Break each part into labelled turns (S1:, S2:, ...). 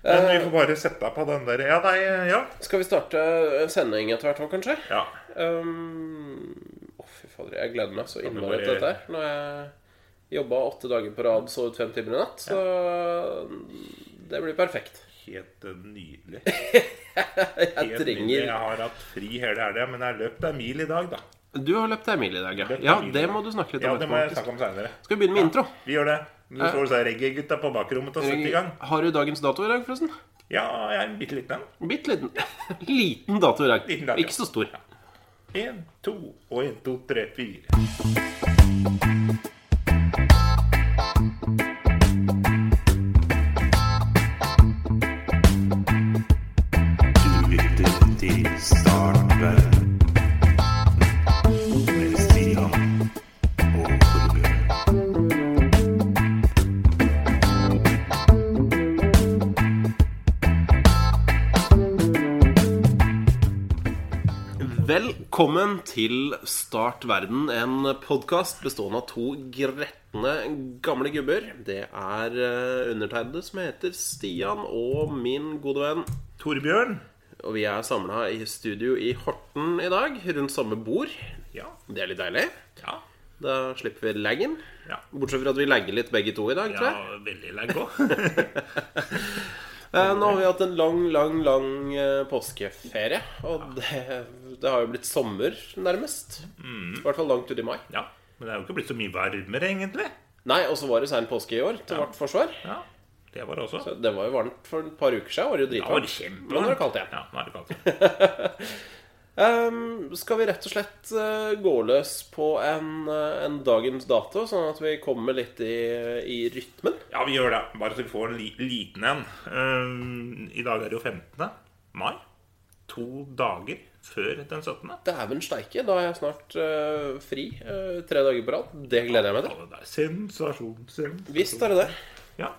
S1: Men
S2: Eh,
S1: vi får bare sette deg på den der Ja, nei, ja.
S2: Skal vi starte eh, sending etter hvert òg, kanskje?
S1: ja.
S2: Um, Å, fy fader. Jeg gleder meg så
S1: vi
S2: innmari
S1: bare-
S2: til dette her. Når jeg jobba åtte dager på rad, sovet fem timer i natt. Så det blir perfekt.
S1: Helt eh, nydelig.
S2: Jeg
S1: Helt nydelig.
S2: trenger
S1: Jeg har hatt fri hele helga, men jeg har løpt ei mil i dag, da.
S2: Du har løpt deg mil i dag, ja.
S1: Løpt
S2: Ja,
S1: ei mil.
S2: det må du snakke litt
S1: Ja,
S2: om.
S1: det
S2: etterpå,
S1: må jeg
S2: faktisk.
S1: snakke om seinere.
S2: Skal vi begynne med intro?
S1: Vi gjør det. Du får disse reggae-gutta på bakrommet og setter i gang.
S2: Har du dagens dato i dag, forresten?
S1: Ja, jeg er en bitte liten en.
S2: Bitte liten. Liten dato i dag.
S1: Liten dato.
S2: Ikke så stor.
S1: Én, to og én, to, tre, fire.
S3: Du lytter til Startbønn med Stian og Torbjørn.
S2: Velkommen til Start verden, en podkast bestående av to gretne gamle gubber. Det er eh, undertegnede som heter Stian, og min gode venn.
S1: Torbjørn.
S2: Og vi er samla i studio i Horten i dag, rundt samme bord.
S1: Ja.
S2: Det er litt deilig.
S1: Ja.
S2: Da slipper vi laggen.
S1: Ja.
S2: Bortsett fra at vi lagger litt begge to i dag, tror jeg.
S1: ja veldig lei gå.
S2: Eh, Nå har vi hatt en lang, lang, lang eh, påskeferie. Og det, det har jo blitt sommer, nærmest. I hvert fall langt ut i mai.
S1: Ja. Men det er jo ikke blitt så mye varmere, egentlig.
S2: Nei, og så var det sein påske i år, til vårt forsvar.
S1: Ja, Det var det også.
S2: Det var jo varmt for et par uker siden. Var det jo
S1: Det var
S2: dritvarmt.
S1: kjempevarmt.
S2: Men nå er det kaldt igjen.
S1: Ja, nå er det kaldt igjen.
S2: Ehm, skal vi rett og slett eh, gå løs på en, eh, en dagens dato, sånn at vi kommer litt i, i rytmen?
S1: Ja, vi gjør det. Bare så vi får en li liten en. Ehm, I dag er det jo 15. mai. To dager før den 17.
S2: Dæven steike, da er jeg snart eh, fri eh, tre dager på rad. Det gleder jeg meg til.
S1: Ja, det er sensasjon, sensasjon.
S2: Visst er det det.
S1: Ja.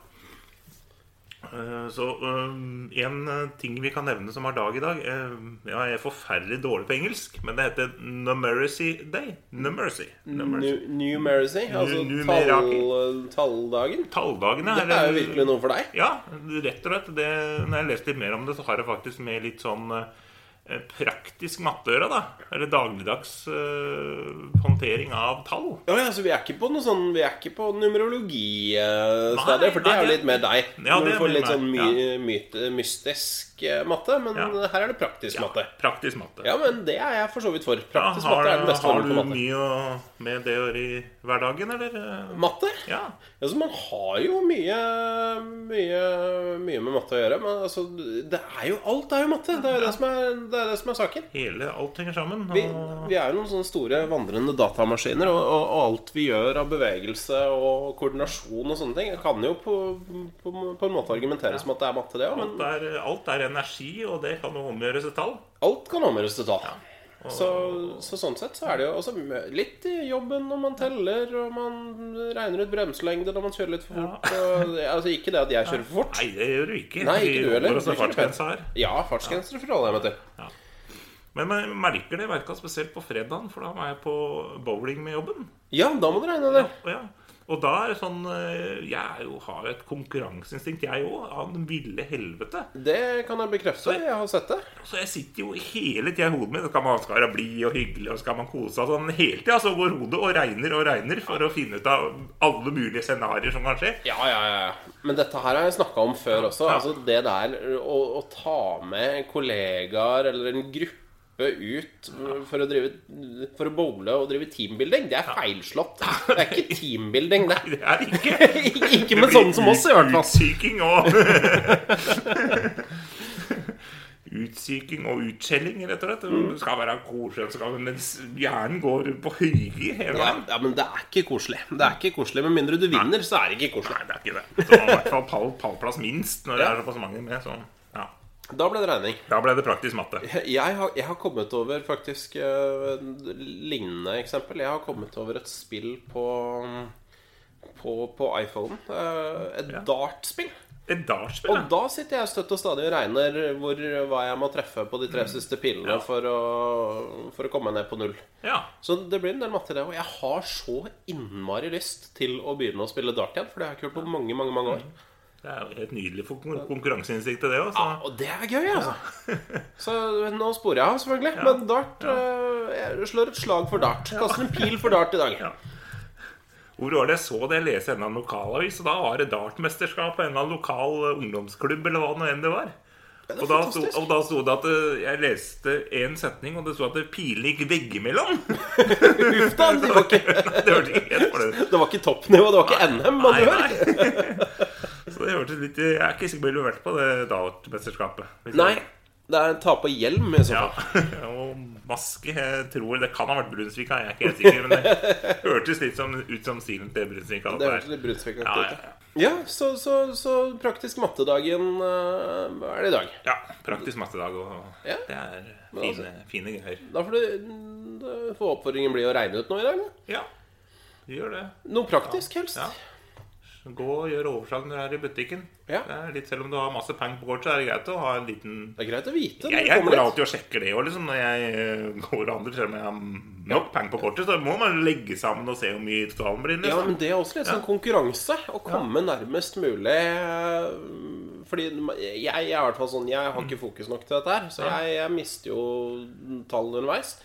S1: Eh, Så eh, en eh, ting vi kan nevne som har dag i dag eh, ja, Jeg er forferdelig dårlig på engelsk, men det heter Numeracy Day. Numeracy. Numeracy.
S2: New, New Mercy, altså
S1: Numeraki.
S2: tall, talldagen.
S1: Talldagene
S2: Det er jo virkelig noe for deg.
S1: Ja, rett og slett. Det, når jeg leste litt mer om det, så har jeg faktisk med litt sånn eh, praktisk matteøre, da. Eller dagligdags eh, håndtering av tall.
S2: Ja, ja, så vi er ikke på noe sånn Vi er ikke på numerologi-stedet, for det
S1: nei,
S2: er jo
S1: det-
S2: litt mer deg.
S1: Ja,
S2: Når
S1: det
S2: du
S1: er
S2: får
S1: mer
S2: litt sånn
S1: meg,
S2: my, myt, mystisk eh, matte, men
S1: Ja.
S2: her er det praktisk matte.
S1: Praktisk matte.
S2: Ja, men det er jeg for så vidt for.
S1: Ja,
S2: Praktisk
S1: har,
S2: matte er den beste
S1: har
S2: formen
S1: du
S2: for matte.
S1: mye å- med det å gjøre i hverdagen, eller?
S2: Matte?
S1: Ja.
S2: Altså, man har jo mye, mye, mye med matte å gjøre, men altså, det er jo alt er jo matte. Det er jo det som er, det er, det som er saken.
S1: Hele Alt henger sammen.
S2: Vi,
S1: og-
S2: vi er jo noen sånne store vandrende datamaskiner, og, og, og alt vi gjør av bevegelse og koordinasjon og sånne ting, kan jo på, på, på en måte argumenteres med at det er matte, det òg,
S1: Alt
S2: men
S1: er, alt er energi, og det kan jo omgjøres til tall.
S2: alt kan omgjøres til tall. Så, så sånn sett så er det jo også litt i jobben når man teller, og man regner ut bremselengde når man kjører litt for fort. Og, altså ikke det at jeg kjører for fort.
S1: Nei, det gjør du ikke.
S2: Nei, ikke
S1: Vi
S2: du heller.
S1: holder oss til
S2: Du kjører
S1: fartsgrensa her.
S2: Ja, fartsgrenser forholder jeg meg til.
S1: Men jeg merker det merka spesielt på fredagen, for da var jeg på bowling med jobben.
S2: Ja, da må du regne det.
S1: Og, ja. og da er det sånn eh, Jeg er jo, har jo et konkurranseinstinkt, jeg òg, av den ville helvete.
S2: Det kan jeg bekrefte. Jeg har sett det.
S1: Så jeg sitter jo hele tida i hodet mitt. Skal man skal være blid og hyggelig og skal man kose seg sånn hele tida, så går hodet og regner og regner for å finne ut av alle mulige scenarioer som kan skje.
S2: Ja, ja, ja. Men dette her har jeg snakka om før også.
S1: Ja.
S2: Altså Det der å, å ta med kollegaer eller en gruppe ut for å, drive, for å bowle og drive teambuilding, det er feilslått. Det er ikke teambuilding, det.
S1: Det er ikke
S2: Ikke med sånne som oss, i hvert fall.
S1: Utsyking og Utsyking og utskjelling, rett og slett.
S2: Mm.
S1: Det skal være koselig, så skal men hjernen går på høygir hele
S2: Ja,
S1: veien.
S2: ja, men det er ikke koselig. Det er ikke koselig, Med mindre du vinner, så er det ikke koselig.
S1: Nei, det er ikke det. Så man har i hvert fall pall, pallplass minst når det
S2: Ja.
S1: er såpass mange med. Sånn. Ja.
S2: Da ble det regning.
S1: Da ble det praktisk matte.
S2: Jeg har, jeg har kommet over faktisk eh, en lignende eksempel. Jeg har kommet over et spill på, på, på iPhone. eh, Et dartspill.
S1: Et
S2: Og
S1: dartspill, ja.
S2: da sitter jeg støtt og stadig og regner hvor, hva jeg må treffe på de tre siste pilene for, å, for å komme ned på null.
S1: ja.
S2: Så det blir en del matte, i det. Og jeg har så innmari lyst til å begynne å spille dart igjen, for det har jeg ikke gjort på mange, mange mange år.
S1: Det er jo helt nydelig for kon- konkurranseinstinkt til det òg.
S2: Ja, og det er gøy, altså. Så nå sporer jeg av, selvfølgelig. Men dart eh, Jeg slår et slag for dart. Kaster en pil for dart i dag.
S1: Ja. Hvor var det jeg så det? Jeg leste i en av lokalavis, og da var det dartmesterskap på en eller annen lokal eh, ungdomsklubb eller hva nå enn det var.
S2: Ja, det er
S1: Og da, sto,
S2: fantastisk.
S1: og da sto det at eh, Jeg leste én setning, og det sto at det piler gikk veggimellom.
S2: Uff da, det var ikke,
S1: Det hørtes ikke helt for det.
S2: det var ikke toppnivå, det var ikke NM. Man
S1: Nei,
S2: gjør.
S1: nei. Så det hørtes litt Jeg er ikke sikker på om jeg ville vært på det dartmesterskapet. Hvis
S2: Nei.
S1: jeg-
S2: Det er ta på hjelm i så
S1: Ja,
S2: fall.
S1: og maske jeg tror Det kan ha vært Brunsvika, jeg er ikke helt sikker. Men det hørtes litt som, ut som stilen til Brunsvika. at
S2: Det
S1: det er-
S2: hørtes litt brunsvik ut.
S1: Ja, ja,
S2: Ja, så, så, så praktisk mattedagen eh, hva er det i dag.
S1: Ja, praktisk mattedag, og
S2: Ja.
S1: det er
S2: Men altså-
S1: fine, fine greier.
S2: Da får du da får oppfordringen bli å regne ut noe i dag. da.
S1: Ja, vi gjør det.
S2: Noe praktisk, helst.
S1: Ja. Gå og gjør overslag når du er i butikken.
S2: Ja.
S1: Det er litt, selv om du har masse penger på kortet, så er det greit å ha en liten
S2: Det er greit å vite. når
S1: jeg,
S2: du
S1: jeg
S2: kommer
S1: går
S2: dit.
S1: alltid og sjekker det òg, liksom, når jeg eh, går og handler. Selv om jeg har nok penger på kortet, så må man legge sammen og se hvor mye totalen blir.
S2: Ja,
S1: Liksom.
S2: men det er også litt sånn konkurranse. Å komme nærmest mulig øh, Fordi jeg, jeg er i hvert fall sånn Jeg har ikke fokus nok til dette her, så jeg, jeg mister jo tallene underveis.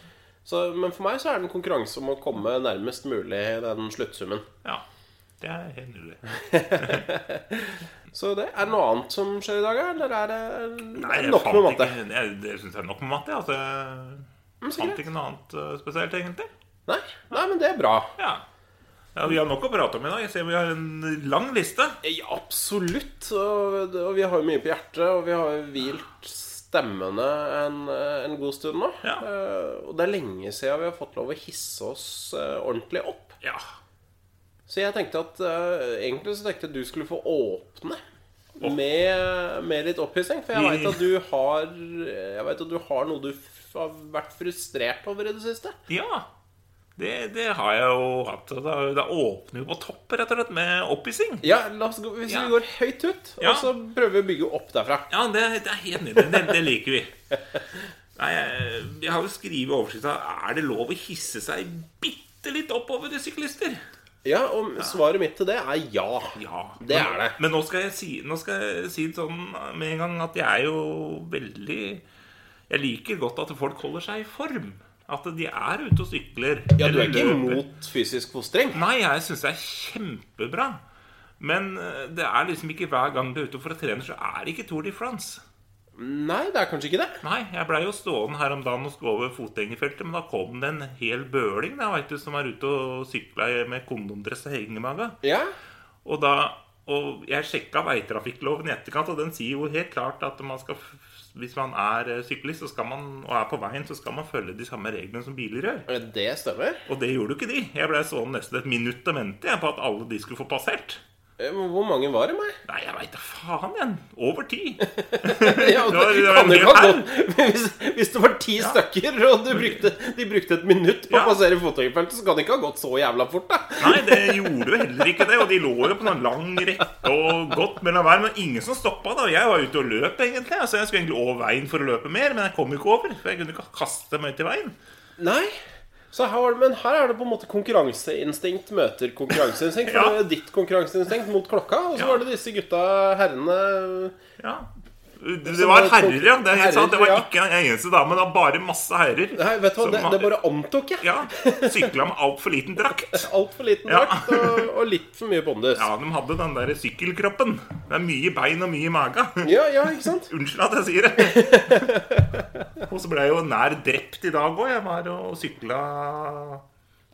S2: Så, men for meg så er det en konkurranse om å komme nærmest mulig den sluttsummen.
S1: Ja, Det er helt nydelig.
S2: Så det er noe annet som skjer i dag, eller er det
S1: Nei, jeg
S2: nok
S1: fant
S2: med matte?
S1: ikke- Jeg, jeg syns det er nok med matte. Altså, jeg
S2: så
S1: fant
S2: greit.
S1: ikke noe annet eh, spesielt, egentlig.
S2: Mm, Nei? Nei, men det er bra.
S1: Ja. ja, Vi har nok å prate om i dag. Jeg ser vi har en lang liste.
S2: Ja, absolutt. Og, og vi har jo mye på hjertet, og vi har jo hvilt stemmene en, en god stund nå.
S1: Ja.
S2: Eh, og det er lenge siden vi har fått lov å hisse oss eh, ordentlig opp.
S1: Ja.
S2: Så jeg tenkte at eh, egentlig så tenkte jeg at du skulle få åpne. Med, med litt opphissing, for jeg
S1: Vi-
S2: veit at du har Jeg vet at du har noe du f har vært frustrert over i det siste.
S1: ja. Det, det har jeg jo hatt. og Da, da åpner vi på topp, rett og slett, med opphissing.
S2: Ja, la oss gå, Hvis
S1: Ja.
S2: vi går høyt ut,
S1: Ja.
S2: og så prøver vi å bygge opp derfra.
S1: Ja, det, det er helt nydelig. Det, det liker vi. Nei, jeg, jeg har jo skrevet i overskrifta 'Er det lov å hisse seg bitte litt oppover til syklister?'
S2: Ja, og svaret mitt til det er ja.
S1: Ja,
S2: Det
S1: men-
S2: er det.
S1: Men nå skal jeg si, nå skal jeg si det sånn med en gang at jeg er jo veldig Jeg liker godt at folk holder seg i form. At de er ute og sykler.
S2: Ja, du er
S1: eller
S2: ikke
S1: løper.
S2: imot fysisk fostring?
S1: Nei, jeg syns det er kjempebra. Men eh, det er liksom ikke hver gang du er ute for å trene, så er det ikke Tour de France.
S2: Nei, det er kanskje ikke det.
S1: Nei, jeg blei jo stående her om dagen og skulle over fotgjengerfeltet, men da kom det en hel bøling der, vet du, som var ute og sykla med kondomdress og hengemaga.
S2: Ja,
S1: Og da og jeg sjekka veitrafikkloven i etterkant, og den sier jo helt klart at man skal, f- hvis man er eh, syklist så skal man, og er på veien, så skal man følge de samme reglene som biler gjør.
S2: eh, det stemmer.
S1: Og det gjorde jo ikke de. Jeg blei stående nesten et minutt og vente jeg, på at alle de skulle få passert.
S2: Eh, men Hvor mange var det meg?
S1: Nei, jeg veit da faen, igjen. Over ti.
S2: Ja,
S1: Det var- det var en
S2: kan jo ikke ha
S1: del
S2: gått- Men hvis, hvis det var ti stykker, og du brukte, de brukte et minutt på
S1: Ja.
S2: å passere fotgjengerfeltet, så kan det ikke ha gått så jævla fort, da.
S1: Nei, det gjorde jo heller ikke det. Og de lå jo på en lang rekke og godt mellom hver. Men ingen som stoppa, da. Jeg var ute og løp, egentlig. Altså, jeg skulle egentlig over veien for å løpe mer, men jeg kom jo ikke over. For jeg kunne ikke kaste meg ut i veien.
S2: Nei. Så her var det, men her er det på en måte konkurranseinstinkt møter konkurranseinstinkt. For
S1: Ja.
S2: det var ditt konkurranseinstinkt mot klokka, og
S1: Ja.
S2: så var det disse gutta, herrene
S1: Ja. Det, det var herrer, ja. Det, er helt sant. det var
S2: Herrer, ja.
S1: ikke en eneste dame, det var bare masse herrer.
S2: Nei, vet du hva,
S1: Som
S2: det,
S1: har-
S2: det bare antok jeg.
S1: Ja. Sykla med altfor liten drakt.
S2: Altfor liten
S1: Ja.
S2: drakt og, og litt for mye pondus.
S1: Ja, de hadde den der sykkelkroppen. Det er mye bein og mye mage.
S2: Ja, ja, ikke sant?
S1: Unnskyld at jeg sier det. Og så ble jeg jo nær drept i dag òg. Jeg var og sykla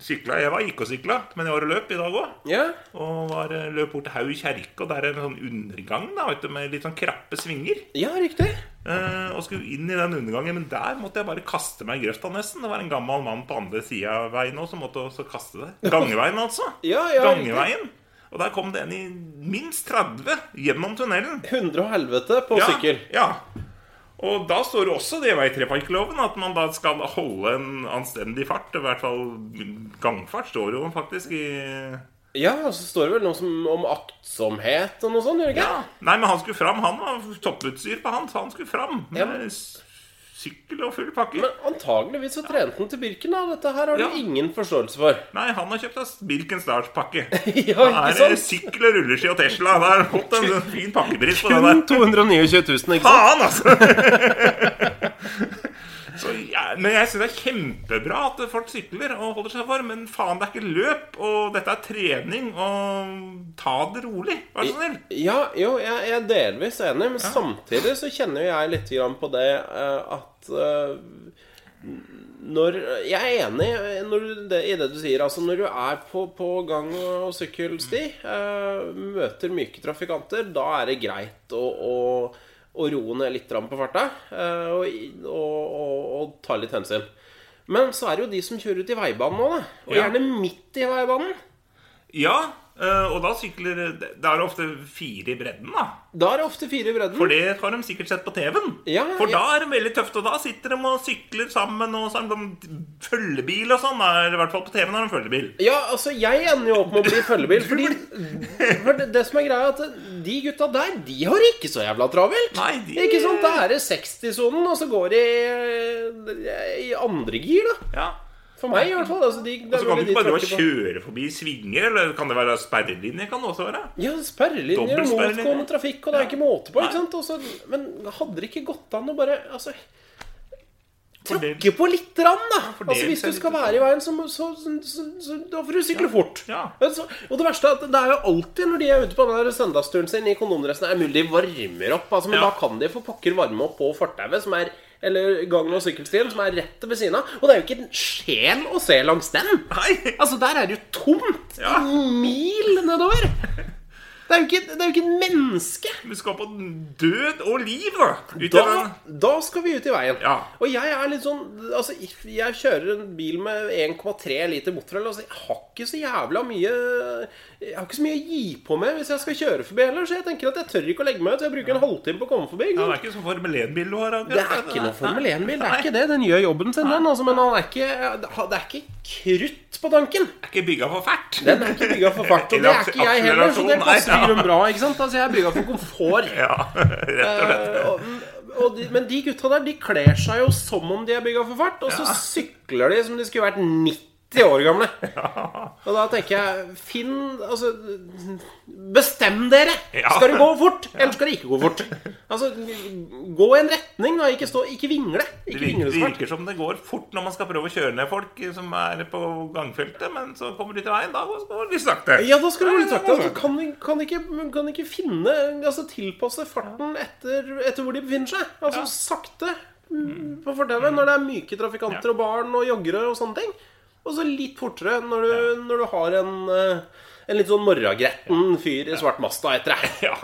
S1: Sykla, Jeg var gikk og sykla, men jeg var og løp i dag òg.
S2: Ja,
S1: Og var, løp bort til Haug kjerke, og der er en sånn undergang da, vet du, med litt sånn krappe svinger.
S2: ja riktig.
S1: Eh, og skulle inn i den undergangen, men der måtte jeg bare kaste meg i grøfta nesten. Det var en gammel mann på andre sida av veien også, som måtte også kaste det. Gangeveien, altså.
S2: Ja, ja,
S1: Gangeveien. Og der kom det en i minst 30 gjennom tunnelen.
S2: Hundre og helvete på
S1: Ja,
S2: sykkel.
S1: Ja. Og da står det også det i veitrafikkloven at man da skal holde en anstendig fart. I hvert fall gangfart står jo faktisk i
S2: Ja, og så står det vel noe som, om aktsomhet og noe sånt, gjør det ikke?
S1: Nei, men han skulle fram. Han var topputstyr på han, så han skulle fram.
S2: Ja.
S1: Med sykkel og full pakke.
S2: Men antageligvis så trente han til Birken, da. Dette her har du
S1: Ja.
S2: ingen forståelse for.
S1: Nei, han har kjøpt seg Birkenstars-pakke.
S2: Ja,
S1: Da
S2: ikke
S1: er det
S2: sant?
S1: sykkel og rulleski og Tesla. Da har han fått en sånn fin pakkepris på det der.
S2: Kun 229 000, ikke sant?
S1: faen, altså! Så, jeg- men jeg syns det er kjempebra at folk sykler og holder seg i form, men faen, det er ikke løp, og dette er trening, og ta det rolig, vær så snill.
S2: Ja, jo, jeg, jeg er delvis enig, men samtidig så kjenner jo jeg litt grann på det eh, at eh, når Jeg er enig eh, når du, det, i det du sier. Altså når du er på, på gang- og sykkelsti, eh, møter myke trafikanter, da er det greit å, å, å roe ned litt grann på farta eh, og, i- og, og, og ta litt hensyn. Men så er det jo de som kjører ut i veibanen nå, da. Og
S1: Ja.
S2: gjerne midt i veibanen.
S1: Ja, eh, og da sykler Da er det ofte fire i bredden, da.
S2: Da er det ofte fire i bredden.
S1: For det har de sikkert sett på TV-en.
S2: Ja,
S1: For
S2: ja.
S1: da er det veldig tøft, og da sitter de og sykler sammen, og så er de følgebil og sånn. da er det I hvert fall på TV-en har de følgebil.
S2: Ja, altså, jeg ender jo opp med å bli følgebil. Fordi, for det, det som er greia, er at de gutta der, de har ikke så jævla travelt.
S1: Nei, de-
S2: Ikke sant? Da er det 60-sonen, og så går de eh, i andre gir, da.
S1: Ja
S2: For meg, i hvert fall. Altså, de, det
S1: Og
S2: er
S1: så kan du
S2: mulig
S1: ikke
S2: de
S1: bare drive
S2: tråkker
S1: og
S2: på-
S1: kjøre forbi svinger, eller kan det være sperrelinje? Kan det også være?
S2: Ja, sperrelinjer og
S1: Dobbeltsperrelinjer.
S2: motgående trafikk, og det er ikke måte på. ikke sant? Og så, men hadde det ikke gått an å bare altså,
S1: Fordel-
S2: tråkke på litt, rann, da?
S1: fordele
S2: Altså, hvis
S1: seg
S2: du skal
S1: litt.
S2: være i veien, så, må- så, så, så, så da får du sykle fort.
S1: Ja.
S2: Men så- Og det verste er at det er jo alltid når de er ute på den der søndagsturen sin i kondomdressen, er mulig de varmer opp. Altså, men
S1: Ja.
S2: da kan de for pokker varme opp på fortauet, som er eller gang- og sykkelstien, som er rett ved siden av. Og det er jo ikke en sjel å se langs den!
S1: Nei!
S2: Altså, der er det jo tomt!
S1: Ja.
S2: En mil nedover! Det er jo ikke, det er jo ikke et menneske!
S1: Du skal på død og liv, da! Ut i
S2: Da,
S1: den-
S2: da skal vi ut i veien.
S1: Ja.
S2: Og jeg er litt sånn Altså, jeg kjører en bil med 1,3 liter motorhell. Altså, jeg har ikke så jævla mye Jeg har ikke så mye å gi på med hvis jeg skal kjøre forbi heller, så jeg tenker at jeg tør ikke å legge meg ut. Så jeg bruker en halvtime på å komme forbi.
S1: Ja,
S2: ikke sant?
S1: det er ikke sånn Formel 1-bil du har. akkurat.
S2: Det er ikke noe Formel 1-bil. Det er ikke det. Den gjør jobben sin, den. Altså, men han er ikke, det er ikke krutt på tanken.
S1: Det er ikke bygga for fært.
S2: Den er ikke bygga for fart, og det er ikke jeg heller, så det passer
S1: Akselerasjon, nei, ja.
S2: Byrun bra. ikke sant? Altså, Jeg er bygga for komfort.
S1: Ja, rett og slett.
S2: Eh, og, og de, men de gutta der, de kler seg jo som om de er bygga for fart, og så sykler de som de skulle vært 90 år gamle. Og da tenker jeg Finn Altså, bestem dere!
S1: Ja.
S2: Skal du gå fort, eller skal du ikke gå fort? Altså, gå i en retning, da. Ikke, stå, ikke vingle.
S1: Det virker,
S2: Ikke
S1: det
S2: vinglesfart.
S1: virker som det går fort når man skal prøve å kjøre ned folk som er på gangfeltet, men så kommer de til veien, da går de litt sakte.
S2: Ja, da skal du gå litt
S1: Ja,
S2: sakte.
S1: ja,
S2: Altså, kan, kan, ikke, kan ikke finne Altså tilpasse farten etter, etter hvor de befinner seg. Altså sakte mm, på fortauet når det er myke trafikanter og barn og joggere og sånne ting. Og så litt fortere når du, når du har en eh, en litt sånn morragretten fyr i svart Mazda etter deg.
S1: Ja,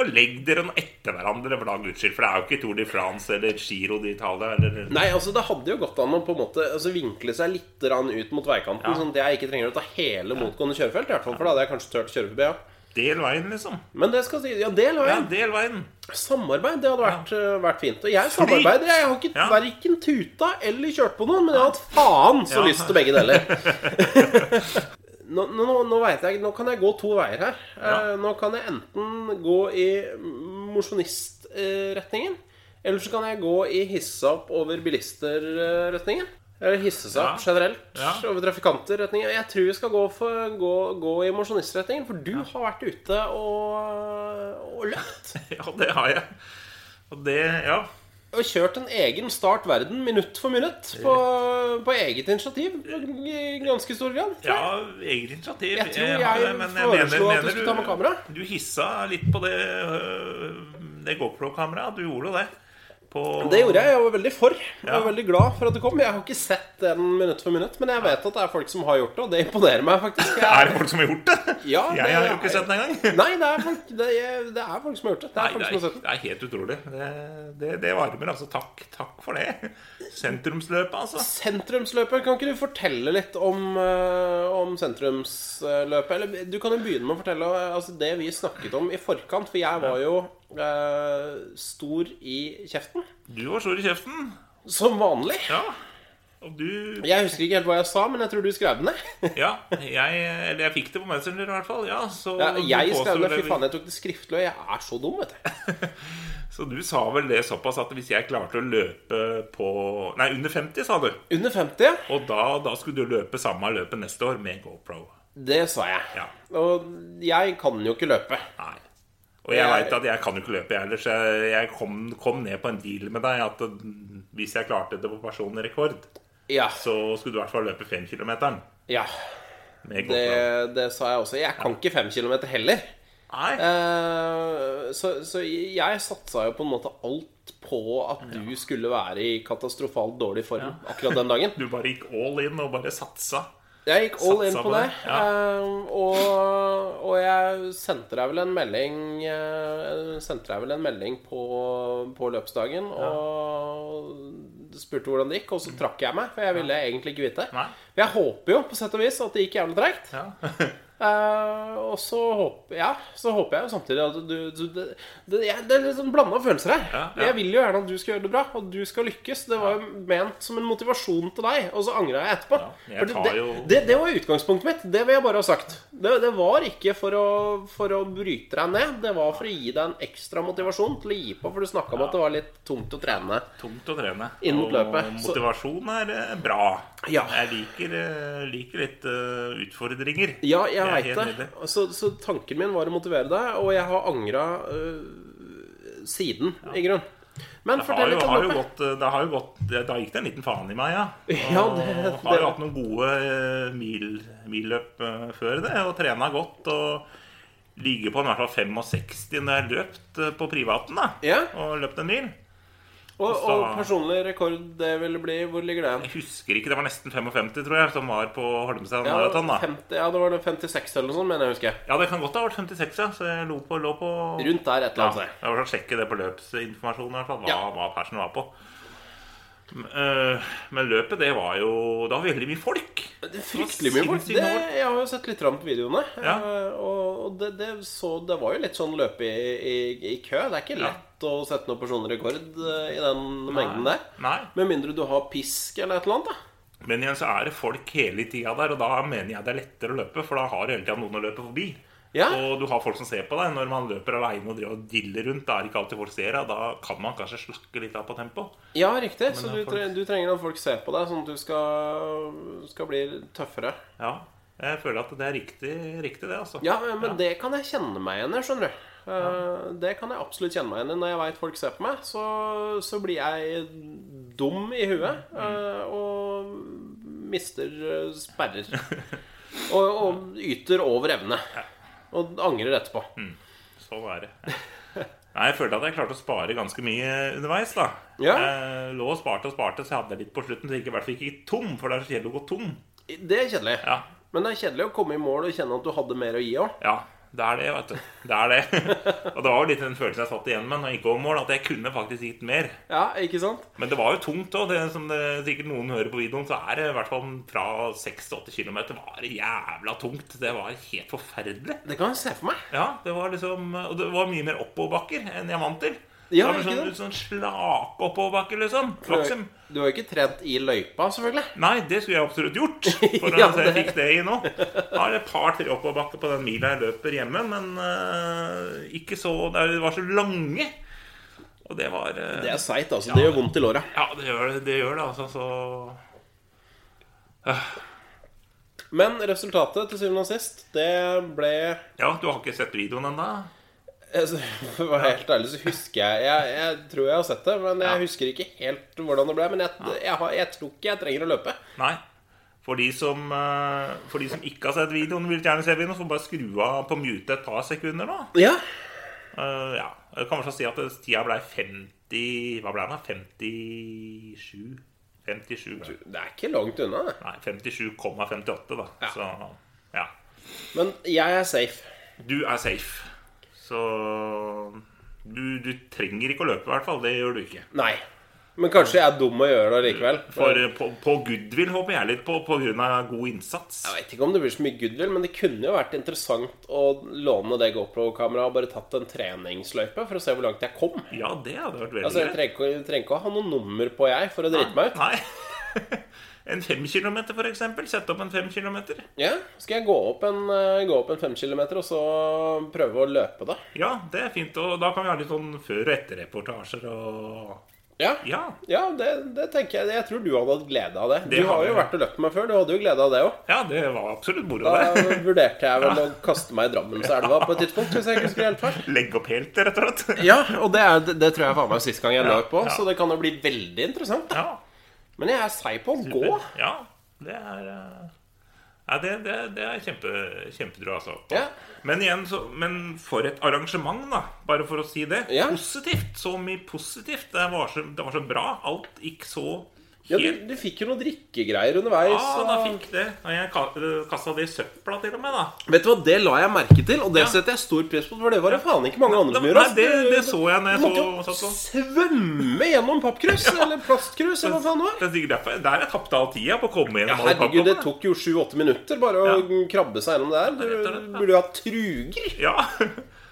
S1: og legg dere nå etter hverandre for da guds skyld, for det er jo ikke Tour de France eller Giro d'Italia eller
S2: Nei, altså Det hadde jo gått an å på en måte altså, vinkle seg litt grann ut mot veikanten, sånn at jeg ikke trenger å ta hele motgående kjørefelt. I hvert fall, for da hadde jeg kanskje turt å kjøre forbi. Ja.
S1: Del veien, liksom.
S2: Men det skal si, ja, det la jeg
S1: Ja, del veien.
S2: Samarbeid, det hadde vært, eh, vært fint. Og jeg samarbeider. Jeg har ikke
S1: Ja.
S2: verken tuta eller kjørt på noen, men jeg har hatt faen så
S1: Ja.
S2: lyst til begge deler. nå, nå, nå, nå vet jeg Nå kan jeg gå to veier her. Eh, Nå kan jeg enten gå i mosjonistretningen, eller så kan jeg gå i hisse opp over bilister-retningen. Eller hisse seg opp
S1: Ja.
S2: generelt
S1: Ja.
S2: over trafikanter-retningen. Jeg tror vi skal gå, for, gå, gå i mosjonistretningen, for du har vært ute og, og løpt.
S1: Ja, det har jeg. Og det Ja.
S2: og kjørt en egen Start verden minutt for minutt på, på eget initiativ. I ganske stor grad. tror jeg.
S1: Ja, eget initiativ.
S2: Jeg tror
S1: har
S2: jeg
S1: det, men
S2: foreslo at du skulle ta med kamera.
S1: Du hissa litt på det, øh, det GoPro-kameraet. Du gjorde jo det. På-
S2: Det gjorde jeg. Jeg var veldig for. Jeg var
S1: Ja.
S2: veldig glad for at det kom. Jeg har ikke sett den minutt for minutt, men jeg vet at det er folk som har gjort det, og det imponerer meg faktisk. Jeg,
S1: Er det folk som har gjort det?
S2: Ja, det
S1: jeg har jo
S2: er-
S1: ikke sett den engang.
S2: nei, det er, folk, det, er, det er folk som har gjort det. Det
S1: Nei,
S2: er folk
S1: det
S2: som
S1: er,
S2: har sett den.
S1: det er helt utrolig. Det, det, det varmer, altså. Takk, takk for det. Sentrumsløpet, altså.
S2: Sentrumsløpet, kan ikke du fortelle litt om, eh, om sentrumsløpet? Eller du kan jo begynne med å fortelle eh, altså, det vi snakket om i forkant, for jeg var jo eh, stor i kjeften.
S1: Du var stor i kjeften.
S2: Som vanlig.
S1: Ja. Og du
S2: Jeg husker ikke helt hva jeg sa, men jeg tror du skrev den ned.
S1: Ja, jeg, eller jeg fikk det på Messenger i hvert fall. Ja, så,
S2: Ja,
S1: du
S2: jeg
S1: påstår
S2: skrev det,
S1: det-
S2: Fy faen, jeg tok det skriftlig, og jeg er så dum, vet du.
S1: så du sa vel det såpass at hvis jeg klarte å løpe på Nei, under 50, sa du.
S2: Under 50, ja.
S1: Og da, da skulle du løpe samme løpet neste år med GoPro.
S2: Det sa jeg.
S1: Ja.
S2: Og jeg kan jo ikke løpe.
S1: Nei. Og jeg
S2: Jeg-
S1: veit at jeg kan jo ikke løpe, jeg heller, så jeg- jeg kom, kom ned på en deal med deg at mm, hvis jeg klarte det på personlig rekord,
S2: Ja.
S1: så skulle du i hvert fall løpe 5-kilometeren
S2: ja.
S1: med GoPro.
S2: Det, det sa jeg også. Jeg kan ikke fem kilometer heller.
S1: Nei,
S2: Eh, Så, så jeg satsa jo på en måte alt på at du skulle være i katastrofalt dårlig form akkurat den dagen.
S1: du bare gikk all in og bare satsa.
S2: Jeg gikk all in
S1: Satsa
S2: på
S1: på
S2: det.
S1: det, ja.
S2: eh, og, og jeg sendte deg vel en melding eh, Sendte deg vel en melding på, på løpsdagen og spurte hvordan det gikk, og så trakk jeg meg, for jeg ville egentlig ikke vite.
S1: Nei.
S2: Jeg håper jo på sett og vis at det gikk jævlig treigt.
S1: Ja.
S2: Eh, og så håper, ja, så håper jeg jo samtidig at du, du det, det, jeg- det er litt sånn blanda følelser her.
S1: Ja, ja.
S2: Jeg vil jo gjerne at du skal gjøre det bra, og du skal lykkes. Det var jo ment som en motivasjon til deg, og så angra jeg etterpå.
S1: jeg
S2: Fordi
S1: tar
S2: det,
S1: jo-
S2: det, det var utgangspunktet mitt. Det vil jeg bare ha sagt. Det, det var ikke for å, for å bryte deg ned. Det var for å gi deg en ekstra motivasjon til å gi på, for du snakka om at det var litt tungt å trene.
S1: Tungt å trene.
S2: Inn mot
S1: Og
S2: løpet, så-
S1: motivasjon er eh, bra.
S2: Ja.
S1: Jeg liker, eh, liker litt eh, utfordringer.
S2: Ja, jeg
S1: er helt
S2: veit det.
S1: nydelig.
S2: Så, så tanken min var å motivere deg, og jeg har angra siden, i grunnen. Men
S1: Det har,
S2: fortell
S1: jo,
S2: litt om
S1: har jo
S2: løpet.
S1: gått, eh, det har jo gått det- Da gikk det en liten faen i meg, ja.
S2: Ja,
S1: Og
S2: det- det-
S1: har jo hatt noen gode eh, mil, milløp eh, før det, og trena godt. Og ligger på i hvert fall 65 når jeg har løpt eh, på privaten, da.
S2: Ja.
S1: Og løpt en mil.
S2: Og,
S1: så-
S2: og personlig rekord, det ville bli Hvor ligger det?
S1: Jeg husker ikke, det var nesten 55, tror jeg, som var på Holmestrand
S2: Ja,
S1: Marathon, da.
S2: 50, ja, det var det 56 eller noe sånt, mener jeg å huske.
S1: Ja, det kan godt ha vært 56, ja. Så jeg lå på, lå på
S2: Rundt der et eller
S1: Ja,
S2: annet sted.
S1: jeg var sånn, sjekke det på løpsinformasjonen, i hvert fall. Hva,
S2: Ja.
S1: hva persen var på. Men, eh, Men løpet, det var jo Det var veldig mye folk.
S2: Det er Fryktelig mye folk.
S1: Sinnssykt
S2: Det,
S1: folk.
S2: jeg har jo sett litt på videoene.
S1: Ja.
S2: eh, Og, og det, det, så, det var jo litt sånn løpe i, i, i kø. Det er ikke
S1: Ja.
S2: lett å sette noen personlig rekord eh, i den mengden der.
S1: Nei.
S2: Med mindre du har pisk eller et eller annet. da
S1: Men igjen så er det folk hele tida der, og da mener jeg det er lettere å løpe, for da har du hele tida noen å løpe forbi.
S2: Ja.
S1: Og du har folk som ser på deg. Når man løper aleine og driver og diller rundt, da er det ikke alltid folk ser deg. Da kan man kanskje slakke litt av på tempoet.
S2: Ja, riktig. Så
S1: da får
S2: du,
S1: du-
S2: tre, du trenger at folk ser på deg, sånn at du skal, skal bli tøffere.
S1: Ja, jeg føler at det er riktig, riktig det, altså.
S2: Ja, men det kan jeg kjenne meg igjen i, skjønner du. Eh, Det kan jeg absolutt kjenne meg igjen i. Når jeg veit folk ser på meg, så, så blir jeg dum i huet eh, og mister eh, sperrer. og, og yter over evne. Og angrer etterpå.
S1: Sånn er det. Nei, jeg følte at jeg klarte å spare ganske mye underveis, da.
S2: Ja.
S1: Jeg lå og sparte og sparte, så jeg hadde litt på slutten, så jeg gikk i hvert fall ikke gikk tom, for det er så kjedelig å gå tom.
S2: Det er kjedelig.
S1: Ja.
S2: Men det er kjedelig å komme i mål og kjenne at du hadde mer å gi òg.
S1: Ja, det er det, vet du. Det er det. Og det var jo litt den følelsen jeg satt igjen med når jeg gikk over mål, at jeg kunne faktisk gitt mer.
S2: Ja, ikke sant?
S1: Men det var jo tungt òg. Som det, sikkert noen hører på videoen, så er det i hvert fall fra 6 til 8 km var det jævla tungt. Det var helt forferdelig.
S2: Det kan jeg se for meg.
S1: Ja, det var liksom Og det var mye mer oppoverbakker enn jeg vant til.
S2: Ja,
S1: det var sånn,
S2: ikke sant?
S1: sånn slak oppoverbakker, liksom.
S2: Du har,
S1: Flaksim.
S2: du har jo ikke trent i løypa, selvfølgelig.
S1: Nei, det skulle jeg absolutt gjort. For
S2: Ja,
S1: at jeg
S2: det-
S1: fikk det i nå. Har et par-tre oppoverbakker på den mila jeg løper hjemme, men eh, ikke så Det var så lange. Og det var eh,
S2: Det er seigt, altså. Det gjør vondt i låra.
S1: Ja, det gjør det, det, gjør det altså. Så
S2: Men resultatet til syvende og sist, det ble
S1: Ja, du har ikke sett videoen ennå?
S2: altså, For å være helt ærlig så husker jeg Jeg, jeg tror jeg har sett det, men jeg husker ikke helt hvordan det ble. Men jeg, jeg, har, jeg tror ikke jeg trenger å løpe.
S1: Nei. For de, som, eh, for de som ikke har sett videoen, vil gjerne se videoen, så bare skru av på mute et par sekunder nå.
S2: Ja,
S1: Eh, ja. Jeg kan kanskje si at tida ble 50 Hva ble den, da? 57? 57 ble det.
S2: Det er ikke langt unna. det.
S1: Nei, 57,58 da
S2: Ja.
S1: Så ja
S2: Men jeg er safe.
S1: Du er safe Så du, du trenger ikke å løpe i hvert fall Det gjør du ikke
S2: Nei. Men kanskje jeg er dum og gjør det likevel.
S1: For eh, på, på goodwill håper jeg litt på På grunn av god innsats
S2: Jeg vet ikke om det blir så mye goodwill, men det kunne jo vært interessant å låne det GoPro-kameraet og bare tatt en treningsløype for å se hvor langt jeg kom.
S1: Ja, det hadde vært veldig
S2: Altså, jeg
S1: greit
S2: trenger, ikke- jeg trenger ikke å ha noe nummer på jeg for å drite meg ut.
S1: Nei En fem kilometer, for eksempel. Sette opp en fem kilometer.
S2: Ja, skal jeg gå opp en, eh, gå opp en fem kilometer og så prøve å løpe, da?
S1: Ja, det er fint. Og da kan vi ha litt sånn før- og etterreportasjer og
S2: Ja,
S1: Ja.
S2: ja det, det tenker jeg. Jeg tror du hadde hatt glede av det.
S1: Det
S2: du har
S1: hadde
S2: jo
S1: jeg.
S2: vært og løpt med meg før. Du hadde jo glede av det òg.
S1: Ja, det var absolutt moro,
S2: Da
S1: det.
S2: vurderte jeg vel å kaste meg i Drammenselva på et tidspunkt. Hvis jeg ikke husker helt feil.
S1: Legge opp helt, rett og slett.
S2: Ja, og det, er, det tror jeg faen meg sist gang jeg løp på,
S1: ja.
S2: så det kan jo bli veldig interessant.
S1: Ja.
S2: Men jeg er seig på å gå.
S1: Ja, det er eh, ja, det, det, det er kjempe, kjempedra, altså.
S2: Ja.
S1: Men igjen, så, men for et arrangement, da. Bare for å si det.
S2: Ja.
S1: Positivt. Så mye positivt. Det var så, det var så bra. Alt gikk så
S2: Ja, du,
S1: helt
S2: du fikk jo noen drikkegreier underveis.
S1: Ja, da
S2: og-
S1: fikk det. Og jeg ka- kasta det i søpla, til og med. da
S2: Vet du hva, det la jeg merke til, og det
S1: Ja.
S2: setter jeg stor pris på, for det var det faen ikke mange andre som
S1: Nei,
S2: gjorde. ass.
S1: det, det så jeg når
S2: Du
S1: jeg
S2: måtte
S1: så,
S2: jo
S1: satt sånn.
S2: svømme gjennom pappkrus, eller plastkrus, eller hva faen det var.
S1: Det er sikkert derfor Der jeg tapte all tida på å komme
S2: Ja,
S1: gjennom alle
S2: herregud, det
S1: pappkoppene.
S2: tok jo sju-åtte minutter bare å krabbe seg gjennom det
S1: rett og
S2: der.
S1: slett,
S2: Du
S1: ja.
S2: burde jo hatt truger.
S1: Ja,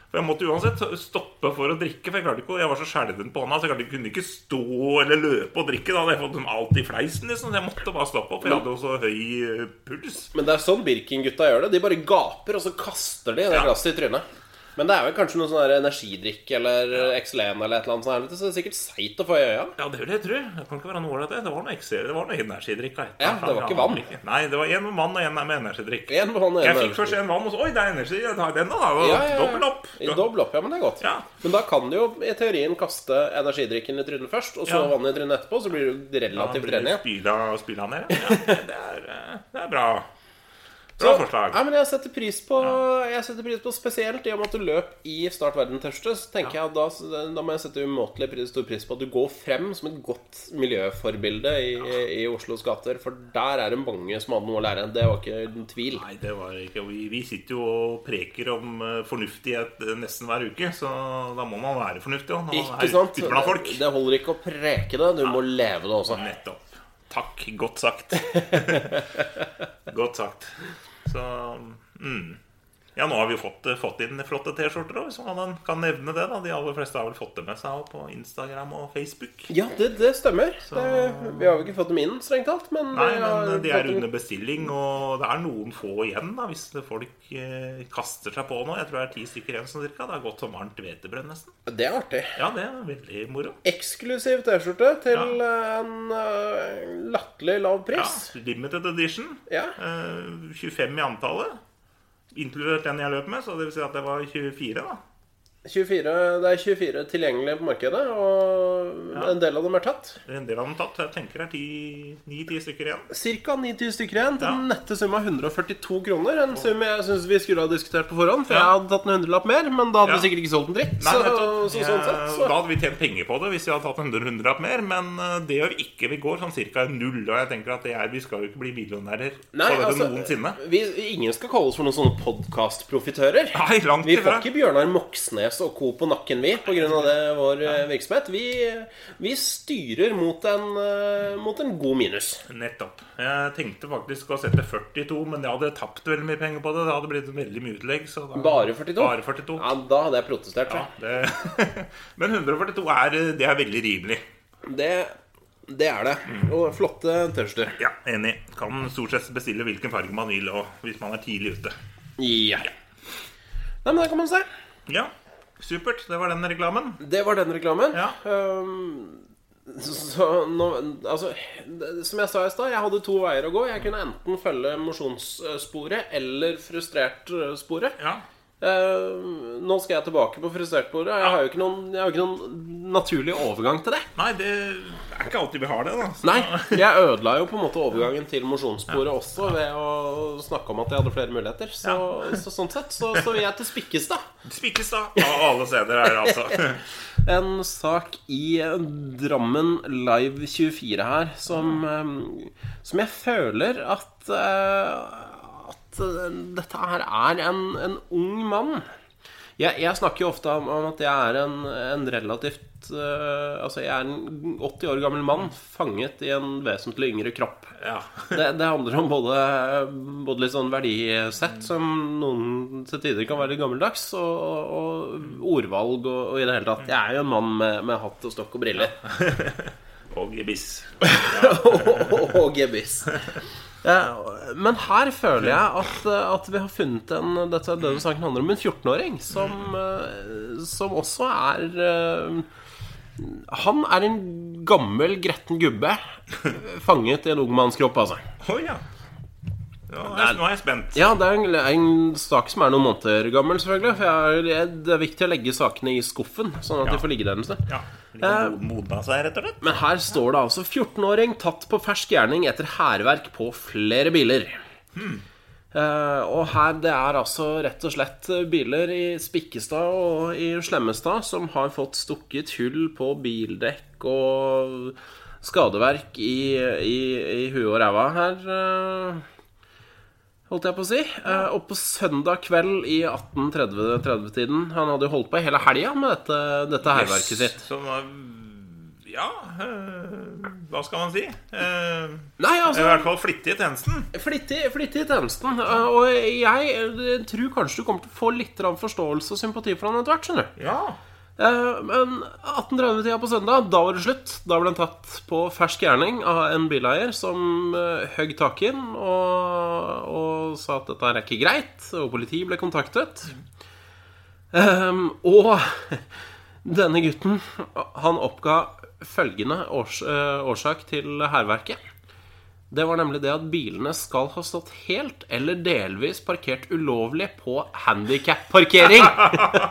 S1: for jeg måtte uansett stoppe for å drikke. For jeg klarte ikke, å- jeg var så skjelven på hånda, så jeg klarte, kunne ikke stå eller løpe og drikke. Da hadde jeg fått dem alt i fleisen, liksom. Så jeg måtte bare stoppe opp. for Jeg hadde jo så høy eh, puls.
S2: Men det er sånn Birkin-gutta gjør det. De bare gaper, og så kaster de det
S1: Ja.
S2: glasset i trynet. Men det er vel kanskje noe sånn der energidrikk eller Excelen eller et eller annet sånt. her, vet du, Så det er sikkert seigt å få i øya.
S1: Ja, det vil jeg tro. Det kan ikke være noe ålreit, det. Det var noe XC, det var noe energidrikk. da.
S2: Ja, det var ikke vann.
S1: Nei, det var én med vann og én med energidrikk.
S2: En på hånden, en
S1: Jeg
S2: på
S1: fikk
S2: øverste.
S1: først en vann, og så Oi, det er energi. Jeg tar den, da. da.
S2: Ja, ja, ja.
S1: Dobbel opp.
S2: I dobbel opp, ja, men det er godt.
S1: Ja.
S2: Men da kan du jo i teorien kaste energidrikken i trynet først, og så
S1: Ja.
S2: vannet i trynet etterpå, så blir du
S1: Da
S2: relativt
S1: blir det
S2: ren igjen.
S1: spyla, spyla ned. Ja, det er, eh, det er bra. Bra forslag.
S2: Nei, men jeg setter pris på Jeg setter pris på spesielt i og med at du løp i Start verden tørste. Så tenker jeg at da, da må jeg sette umåtelig pris, stor pris på at du går frem som et godt miljøforbilde i, i Oslos gater. For der er det mange som hadde noe å lære. Det var ikke en tvil.
S1: Nei, det var ikke Vi, vi sitter jo og preker om eh, fornuftighet eh, nesten hver uke, så da må man være fornuftig òg. Når man
S2: Ikke
S1: er
S2: sant?
S1: ute blant folk.
S2: Det holder ikke å preke det. Du må leve det også.
S1: Nettopp. Takk. Godt sagt. godt sagt. Så mm. Ja, nå har vi jo fått, eh, fått inn flotte T-skjorter òg, hvis man kan nevne det. da De aller fleste har vel fått det med seg også på Instagram og Facebook.
S2: Ja, det, det stemmer. Det, vi har jo ikke fått dem inn, strengt tatt. Men,
S1: Nei,
S2: vi har
S1: men eh, de
S2: fått
S1: er
S2: dem-
S1: under bestilling, og det er noen få igjen da hvis folk eh, kaster seg på nå. Jeg tror det er ti stykker igjen sånn cirka. Det har gått som varmt hvetebrød nesten.
S2: Det er artig.
S1: Ja, det er veldig moro.
S2: Eksklusiv T-skjorte til eh, en eh, latterlig lav
S1: Ja,
S2: pris.
S1: limited edition.
S2: Ja.
S1: Eh, 25 i antallet. Inkludert den jeg løp med, så det vil si at det var 24, da.
S2: 24, det er 24 tilgjengelige på markedet, og en del av dem er tatt.
S1: En del av dem tatt. Jeg tenker det er 9-10 stykker igjen.
S2: Ca. 9000 stykker igjen til
S1: Ja.
S2: den nette sum av 142 kroner. En sum jeg syns vi skulle ha diskutert på forhånd, for jeg
S1: Ja.
S2: hadde tatt en hundrelapp mer. Men da hadde
S1: Ja.
S2: vi sikkert ikke solgt en dritt.
S1: Nei,
S2: så,
S1: nettopp.
S2: så, sånn sett,
S1: Eh,
S2: så.
S1: Da hadde vi tjent penger på det hvis vi hadde tatt en hundrelapp mer, men eh, det gjør vi ikke. Vi går sånn cirka null, og jeg tenker at det er, vi skal jo ikke bli millionærer
S2: Nei,
S1: for det
S2: altså,
S1: noensinne.
S2: vi, ingen skal kalle oss for noen sånne podkastprofitører.
S1: Nei, langt
S2: Vi får
S1: ifra.
S2: ikke Bjørnar Moxnes og co. på nakken, vi, pga. vår eh, virksomhet. Vi, vi styrer mot en, eh, mot en god minus.
S1: Nettopp. Jeg tenkte faktisk å sette 42, men jeg hadde tapt veldig mye penger på det. Det hadde blitt veldig mye utlegg. Så da,
S2: Bare 42?
S1: Bare 42.
S2: Ja, da hadde jeg protestert. tror jeg.
S1: Ja, det, men 142 er, det er veldig rimelig.
S2: Det, det er det. Og flotte tørster.
S1: Ja, Enig. Kan stort sett bestille hvilken farge man vil og hvis man er tidlig ute.
S2: Ja. Nei, men der kan man se.
S1: Ja, supert. Det var den reklamen.
S2: Det var den reklamen.
S1: Ja.
S2: Ehm, så, så nå, altså, det- som jeg sa i stad, jeg hadde to veier å gå. Jeg kunne enten følge mosjonssporet eller eh, frustrert-sporet.
S1: Ja,
S2: Ehm, nå skal jeg tilbake på frustrert-sporet. Jeg har jo ikke noen, jeg har jo ikke noen naturlig overgang til det.
S1: Nei, det er ikke alltid vi har det, da. Så-
S2: Nei, jeg ødela jo på en måte overgangen til mosjonssporet også ved å snakke om at jeg hadde flere muligheter. Så, så sånn sett så står jeg til Spikkestad.
S1: Spikkestad av alle steder her, altså.
S2: En sak i Drammen Live 24 her som, eh, som jeg føler at eh, At eh, dette her er en, en ung mann. Jeg, jeg snakker jo ofte om, om at jeg er en, en relativt eh, Altså, jeg er en 80 år gammel mann fanget i en vesentlig yngre kropp.
S1: Ja.
S2: Det, det handler om både, både litt sånn verdisett, som noen til tider kan være litt gammeldags, og, og ordvalg og, og i det hele tatt. Jeg er jo en mann med, med hatt og stokk og briller.
S1: Og gebiss.
S2: og gebiss. Eh, Men her føler jeg at, at vi har funnet en Dette er denne saken handler om en 14-åring som, eh, som også er eh, Han er en gammel, gretten gubbe fanget i en ung manns kropp, altså.
S1: Å ja. Nå er, jeg- nå er jeg spent.
S2: Ja, det er en, en sak som er noen måneder gammel, selvfølgelig. For jeg, er- det er viktig å legge sakene i skuffen, sånn at
S1: Ja.
S2: de får ligge der en stund.
S1: Ja.
S2: Eh.
S1: Litt modna seg, rett og slett.
S2: Men her står det altså 14-åring tatt på fersk gjerning etter hærverk på flere biler. Eh, og her det er altså rett og slett biler i Spikkestad og i Slemmestad som har fått stukket hull på bildekk og skadeverk i, i, i huet og ræva her. eh, holdt jeg på å si. Eh, og på søndag kveld i 1830-tiden Han hadde jo holdt på hele helga med dette, dette hærverket sitt.
S1: Som var Ja eh, Hva skal man si? Eh,
S2: Nei, altså
S1: I hvert fall flittig i tjenesten.
S2: Flittig, flittig i tjenesten. eh, Og jeg eh, tror kanskje du kommer til å få litt grann forståelse og sympati for han etter hvert. skjønner du
S1: Ja.
S2: Eh, Men 18.30-tida på søndag, da var det slutt. Da ble han tatt på fersk gjerning av en bileier som eh, høgg tak i den og, og sa at dette er ikke greit, og politiet ble kontaktet. Ehm, og denne gutten, han oppga følgende års, eh, årsak til hærverket. Det var nemlig det at bilene skal ha stått helt eller delvis parkert ulovlig på handikapparkering.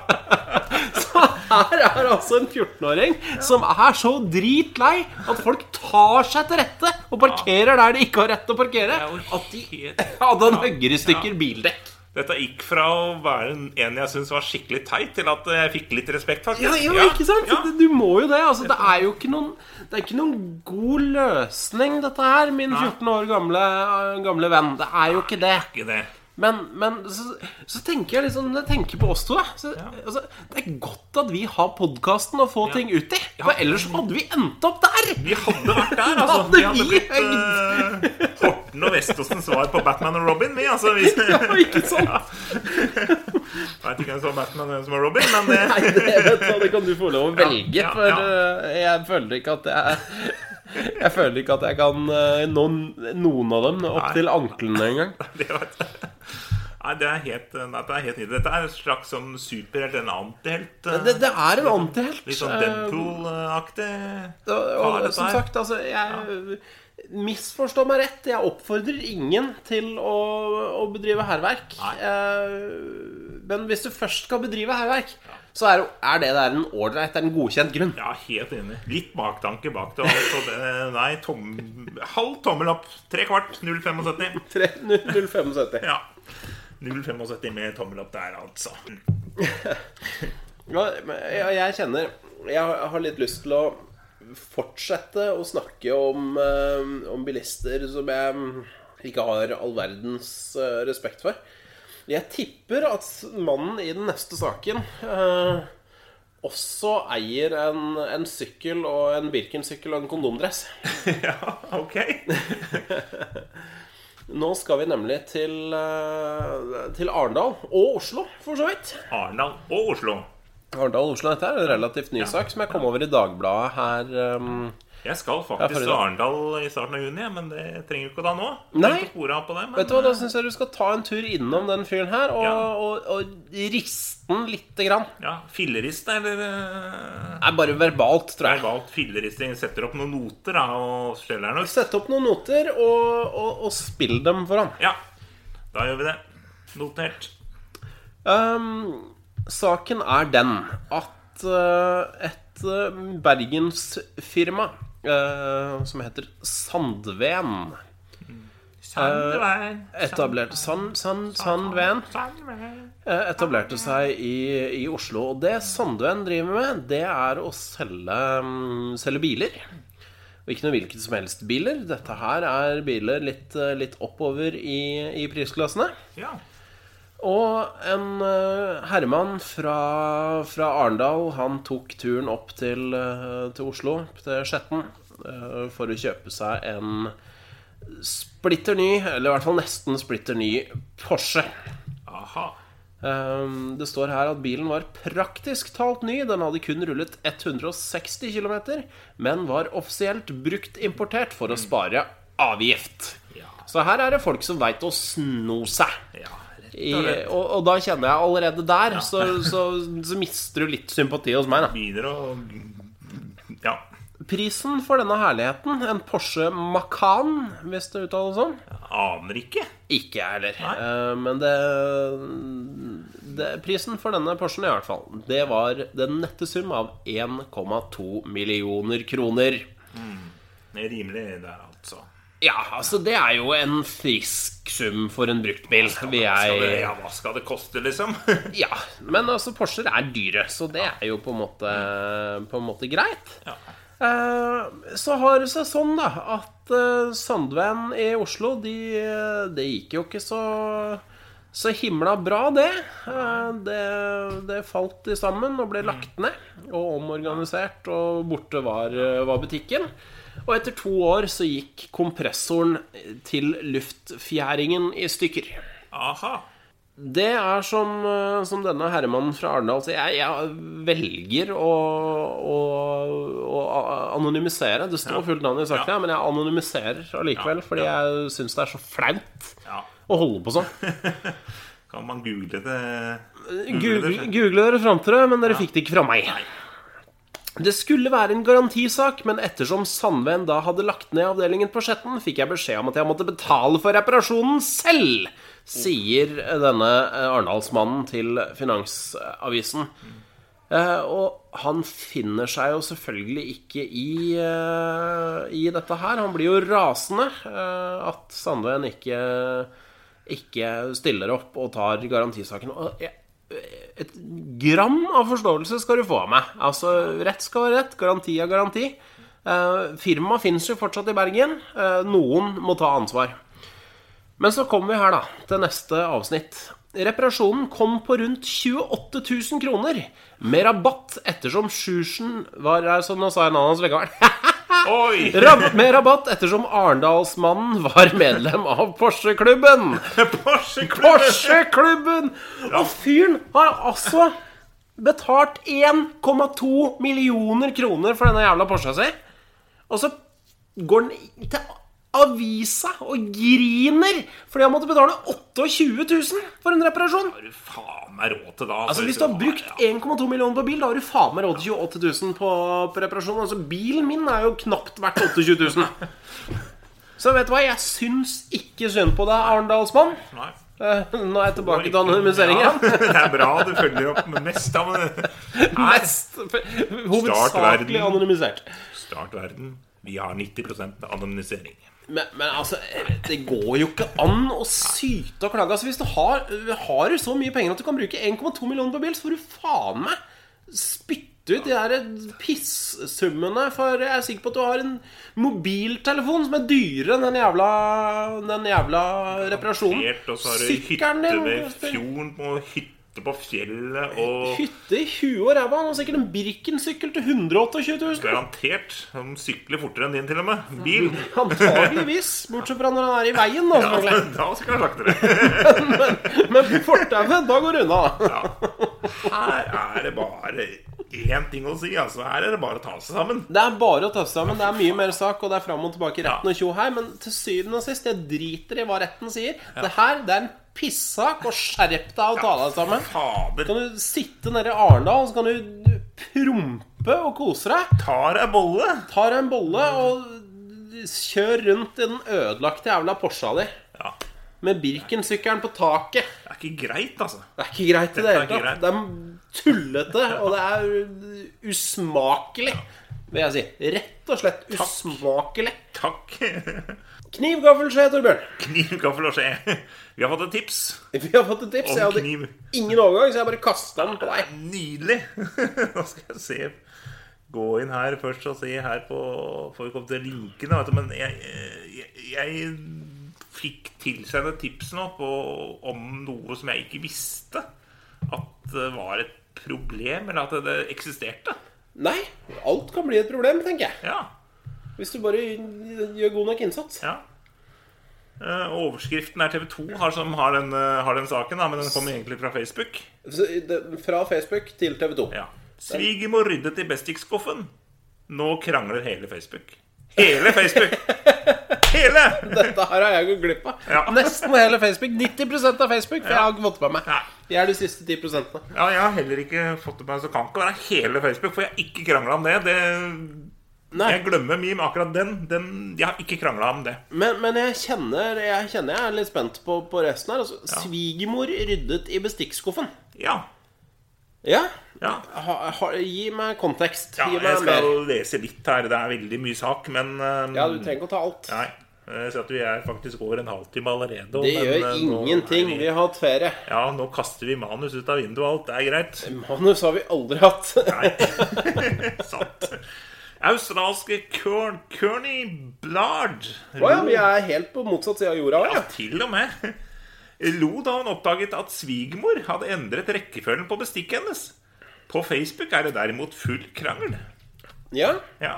S2: så her er altså en 14-åring som er så dritlei at folk tar seg til rette og parkerer der de ikke har rett til å parkere, at de ja, den hugger i stykker bildekk.
S1: Dette gikk fra å være en- en jeg syntes var skikkelig teit, til at jeg fikk litt respekt, faktisk.
S2: Ja, ja, ikke sant?
S1: ja.
S2: Du må jo det. Altså, det er jo ikke noen, det er ikke noen god løsning, dette her, min 14 år gamle, eh, gamle venn. Det er jo ikke det.
S1: Ikke det.
S2: Men, men så, så tenker jeg liksom Når jeg tenker på oss to, da så, altså, Det er godt at vi har podkasten å få ting ut i. For ellers hadde vi endt opp der!
S1: Vi hadde vært der,
S2: Da
S1: altså.
S2: hadde
S1: Vi hadde
S2: vi
S1: blitt eh, Horten og Veståsens svar på Batman og Robin, vi, altså. Vi
S2: Ja, ikke sant?
S1: veit ikke hvem som er Batman og hvem som er Robin, men eh, det
S2: Nei, det, vet du, hva, det kan du få lov å velge,
S1: ja,
S2: for
S1: ja.
S2: eh, jeg føler ikke at jeg jeg føler ikke at jeg kan eh, nå noen av dem opp
S1: Nei.
S2: til anklene engang.
S1: Det var Nei, det er helt, eh, nei, det er helt nydelig. Dette er en slags sånn superhelt, en antihelt. eh,
S2: Det, det er en antihelt.
S1: Litt sånn
S2: eh,
S1: Deadpool-aktig.
S2: og-
S1: Hva er
S2: Og
S1: dette
S2: som
S1: her?
S2: sagt, altså jeg, Misforstå meg rett. Jeg oppfordrer ingen til å, å bedrive hærverk.
S1: Nei.
S2: Eh, Men hvis du først skal bedrive hærverk, så er, er det der en ålreit, det er en godkjent grunn.
S1: Ja, helt enig. Litt baktanke bak det. Altså, det nei, tom, halv tommel opp. Tre kvart. 0,75.
S2: 3075.
S1: Ja. 0,75 med tommel opp der, altså.
S2: Ja, men jeg, jeg kjenner Jeg har litt lyst til å fortsette å snakke om, eh, om bilister som jeg ikke har all verdens eh, respekt for. Jeg tipper at mannen i den neste saken eh, også eier en, en sykkel og en Birken-sykkel og en kondomdress.
S1: Ja, ok.
S2: Nå skal vi nemlig til, eh, til Arendal og Oslo, for så vidt.
S1: Arendal og Oslo.
S2: Arendal og Oslo, dette er en relativt ny sak som jeg kom over i Dagbladet her um,
S1: Jeg skal
S2: Ja, for
S1: faktisk
S2: i
S1: til
S2: dag.
S1: Arendal i starten av juni, men det trenger du ikke å ta nå.
S2: Nei.
S1: Ikke spore av på det, men
S2: Vet du hva, Da syns jeg du skal ta en tur innom den fyren her og,
S1: Ja.
S2: og, og riste den lite grann.
S1: ja, fillerist eller eh,
S2: Nei, bare verbalt, tror jeg.
S1: verbalt filleristing. Setter opp noen noter da, og steller nok.
S2: Sett opp noen noter og, og, og spill dem for han.
S1: Ja, da gjør vi det. Notert.
S2: Ehm, saken er den at eh, et eh, bergensfirma eh, som heter Sandven Eh,
S1: Sandveien.
S2: Etablerte Sand, Sand, Sandven
S1: Sandveien.
S2: eh, etablerte seg i, i Oslo. Og det Sandven driver med, det er å selge, mm, selge biler. Og ikke noe hvilket som helst biler. Dette her er biler litt, eh, litt oppover i, i prisklassene.
S1: Ja.
S2: Og en eh, herremann fra, fra Arendal, han tok turen opp til, eh, til Oslo, opp til Skjetten, eh, for å kjøpe seg en splitter ny, eller i hvert fall nesten splitter ny, Porsche.
S1: Aha.
S2: Ehm, Det står her at bilen var praktisk talt ny. Den hadde kun rullet 160 km, men var offisielt brukt importert for å spare avgift.
S1: Ja.
S2: Så her er det folk som veit å sno seg.
S1: Ja, rett
S2: I,
S1: og slett.
S2: og, og da kjenner jeg allerede der, så, så, så mister du litt sympati hos meg. da
S1: Begynner å Ja.
S2: Prisen for denne herligheten, en Porsche Macan, hvis det uttales sånn
S1: Aner ikke.
S2: Ikke jeg heller.
S1: Nei.
S2: Eh, men det, det Prisen for denne Porschen, i hvert fall, det var den nette sum av 1,2 millioner kroner.
S1: Det er Rimelig der, altså.
S2: Ja, altså, det er jo en frisk sum for en bruktbil, vil
S1: Skal det,
S2: jeg
S1: ja, hva skal det koste, liksom?
S2: Ja, men altså, Porscher er dyre, så det er jo på en måte, på en måte greit.
S1: Ja.
S2: Eh, Så har det seg sånn da at eh, Sandven i Oslo, de, eh, det gikk jo ikke så, så himla bra, det. Eh, det. Det falt i sammen og ble lagt ned og omorganisert, og borte var, eh, var butikken. Og etter to år så gikk kompressoren til luftfjæringen i stykker.
S1: Aha.
S2: Det er som, eh, som denne herremannen fra Arendal sier. Jeg, jeg velger å, å, å a- anonymisere. Det står fullt navn i saken,
S1: Ja.
S2: her, men jeg anonymiserer allikevel
S1: Ja,
S2: fordi jeg syns det er så flaut
S1: Ja.
S2: å holde på sånn.
S1: Kan man google det?
S2: Google, google dere fram til det, men dere fikk det ikke fra meg. Det skulle være en garantisak, men ettersom Sandven da hadde lagt ned avdelingen på Skjetten, fikk jeg beskjed om at jeg måtte betale for reparasjonen selv, sier denne eh, Arendalsmannen til Finansavisen. Eh, og han finner seg jo selvfølgelig ikke i, eh, i dette her. Han blir jo rasende eh, at Sandven ikke, ikke stiller opp og tar garantisaken. Og jeg, et gram av forståelse skal du få av meg. Altså, rett skal være rett, garanti er garanti. Uh, Firmaet fins jo fortsatt i Bergen. Eh, noen må ta ansvar. Men så kommer vi her da, til neste avsnitt. Reparasjonen kom på rundt 28 000 kroner, med rabatt ettersom Sjursen var her, så nå sa jeg navnet hans likevel.
S1: Oi!
S2: Rab med rabatt ettersom Arendalsmannen var medlem av Porsche-klubben.
S1: Porsche-klubben!
S2: Porsche-klubben! Og fyren har altså betalt 1,2 millioner kroner for denne jævla Porscha si. Og så går den til avisa og griner fordi han måtte betale 28 000 for en reparasjon.
S1: Har du faen meg råd til da?
S2: Altså Hvis du har brukt 1,2 millioner på bil, da har du faen meg råd til 28 000 på, på reparasjon. Altså Bilen min er jo knapt verdt 28 000. Så vet du hva, jeg syns ikke synd på deg, Arendalsmann.
S1: Nei.
S2: Eh, Nå er jeg tilbake til anonymiseringen.
S1: Ja, det er bra du følger opp med mest av
S2: Mest hovedsakelig
S1: verden.
S2: anonymisert.
S1: Start verden. Vi har 90 anonymisering.
S2: Men, men altså, det går jo ikke an å syte og klage. Altså, hvis du har, har du så mye penger at du kan bruke 1,2 millioner på bil, så får du faen meg spytte ut de der pissummene. For jeg er sikker på at du har en mobiltelefon som er dyrere enn den jævla, den jævla reparasjonen.
S1: Helt, og så har du
S2: Sykkelen
S1: hytte
S2: din-
S1: ved fjorden og hytte på fjellet og
S2: Hytte i huet og ræva. Han har sikkert en Birken-sykkel til 128 000.
S1: Garantert. De sykler fortere enn din, til og med. Bil.
S2: Antageligvis, bortsett fra når han er i veien, da,
S1: Ja,
S2: selvfølgelig.
S1: da skal jeg slakte det.
S2: Men på fortauet, da går det unna.
S1: Ja. Her er det bare én ting å si. Altså, her er det bare å ta seg sammen.
S2: Det er bare å tøffe seg, men det er mye mer sak, og det er fram og tilbake i retten og tjo her. Men til syvende og sist, jeg driter i hva retten sier. Det her, det er en pissak, og skjerp deg og ta deg sammen.
S1: Fader.
S2: Kan du sitte nede i Arendal, og så kan du prompe og kose deg.
S1: Tar ei bolle.
S2: Ta deg en bolle og kjør rundt i den ødelagte jævla Porscha di.
S1: Ja.
S2: Med Birken-sykkelen på taket.
S1: Det er ikke greit, altså.
S2: Det er ikke greit i det
S1: Dette er
S2: hele
S1: ikke
S2: tatt.
S1: greit.
S2: Det er tullete, og det er usmakelig, vil jeg si. Rett og slett usmakelig.
S1: Takk.
S2: Kniv, gaffel, skje, Torbjørn.
S1: Kniv, gaffel og skje. Vi har fått et tips
S2: Vi har fått et tips.
S1: om
S2: Jeg hadde
S1: kniv.
S2: ingen overgang, så jeg bare kasta den på deg.
S1: Nydelig. Nå skal jeg se Gå inn her først og se her på Får vi komme til linkene, vet du. Men jeg, jeg, jeg fikk tilsendt et tips nå på, om noe som jeg ikke visste at det var et problem, eller at det eksisterte.
S2: Nei, alt kan bli et problem, tenker jeg.
S1: Ja.
S2: Hvis du bare gjør god nok innsats.
S1: ja. Eh, og Overskriften er TV2 har, som har, den, eh, har den saken, da, men den kom egentlig fra Facebook.
S2: Så det- Fra Facebook til TV 2.
S1: Ja. Svigermor ryddet i bestik-skuffen. Nå krangler hele Facebook. Hele Facebook! Hele!
S2: Dette her har jeg gått glipp av.
S1: Ja.
S2: Nesten hele Facebook. 90 av Facebook. For jeg har ikke fått med meg.
S1: Nei.
S2: De er de siste 10
S1: Ja, jeg har heller ikke fått det med meg, så kan ikke være hele Facebook, for jeg har ikke krangla om det. det.
S2: Nei.
S1: Jeg glemmer meme akkurat den. den jeg har ikke krangla om det.
S2: Men, men jeg, kjenner, jeg kjenner jeg er litt spent på, på resten her. Altså, Svigermor ryddet i bestikkskuffen.
S1: Ja.
S2: Ja?
S1: ja.
S2: Ha, ha, gi meg kontekst.
S1: Ja,
S2: gi meg
S1: jeg skal
S2: mer.
S1: lese litt her. Det er veldig mye sak, men eh,
S2: Ja, du trenger ikke å ta alt.
S1: Nei. Jeg ser at vi er faktisk over en halvtime allerede.
S2: Det
S1: men,
S2: gjør
S1: eh, nå er
S2: ingenting.
S1: vi-
S2: Vi har hatt ferie.
S1: Ja, nå kaster vi manus ut av vinduet og alt. Det er greit.
S2: Manus har vi aldri hatt.
S1: Nei. Sant. Australske Kern Kearney Blard
S2: Å ja, vi er helt på motsatt side av jorda.
S1: Ja,
S2: Ja.
S1: til og med. Lo da hun oppdaget at svigermor hadde endret rekkefølgen på bestikket hennes. På Facebook er det derimot full krangel.
S2: ja.
S1: Ja.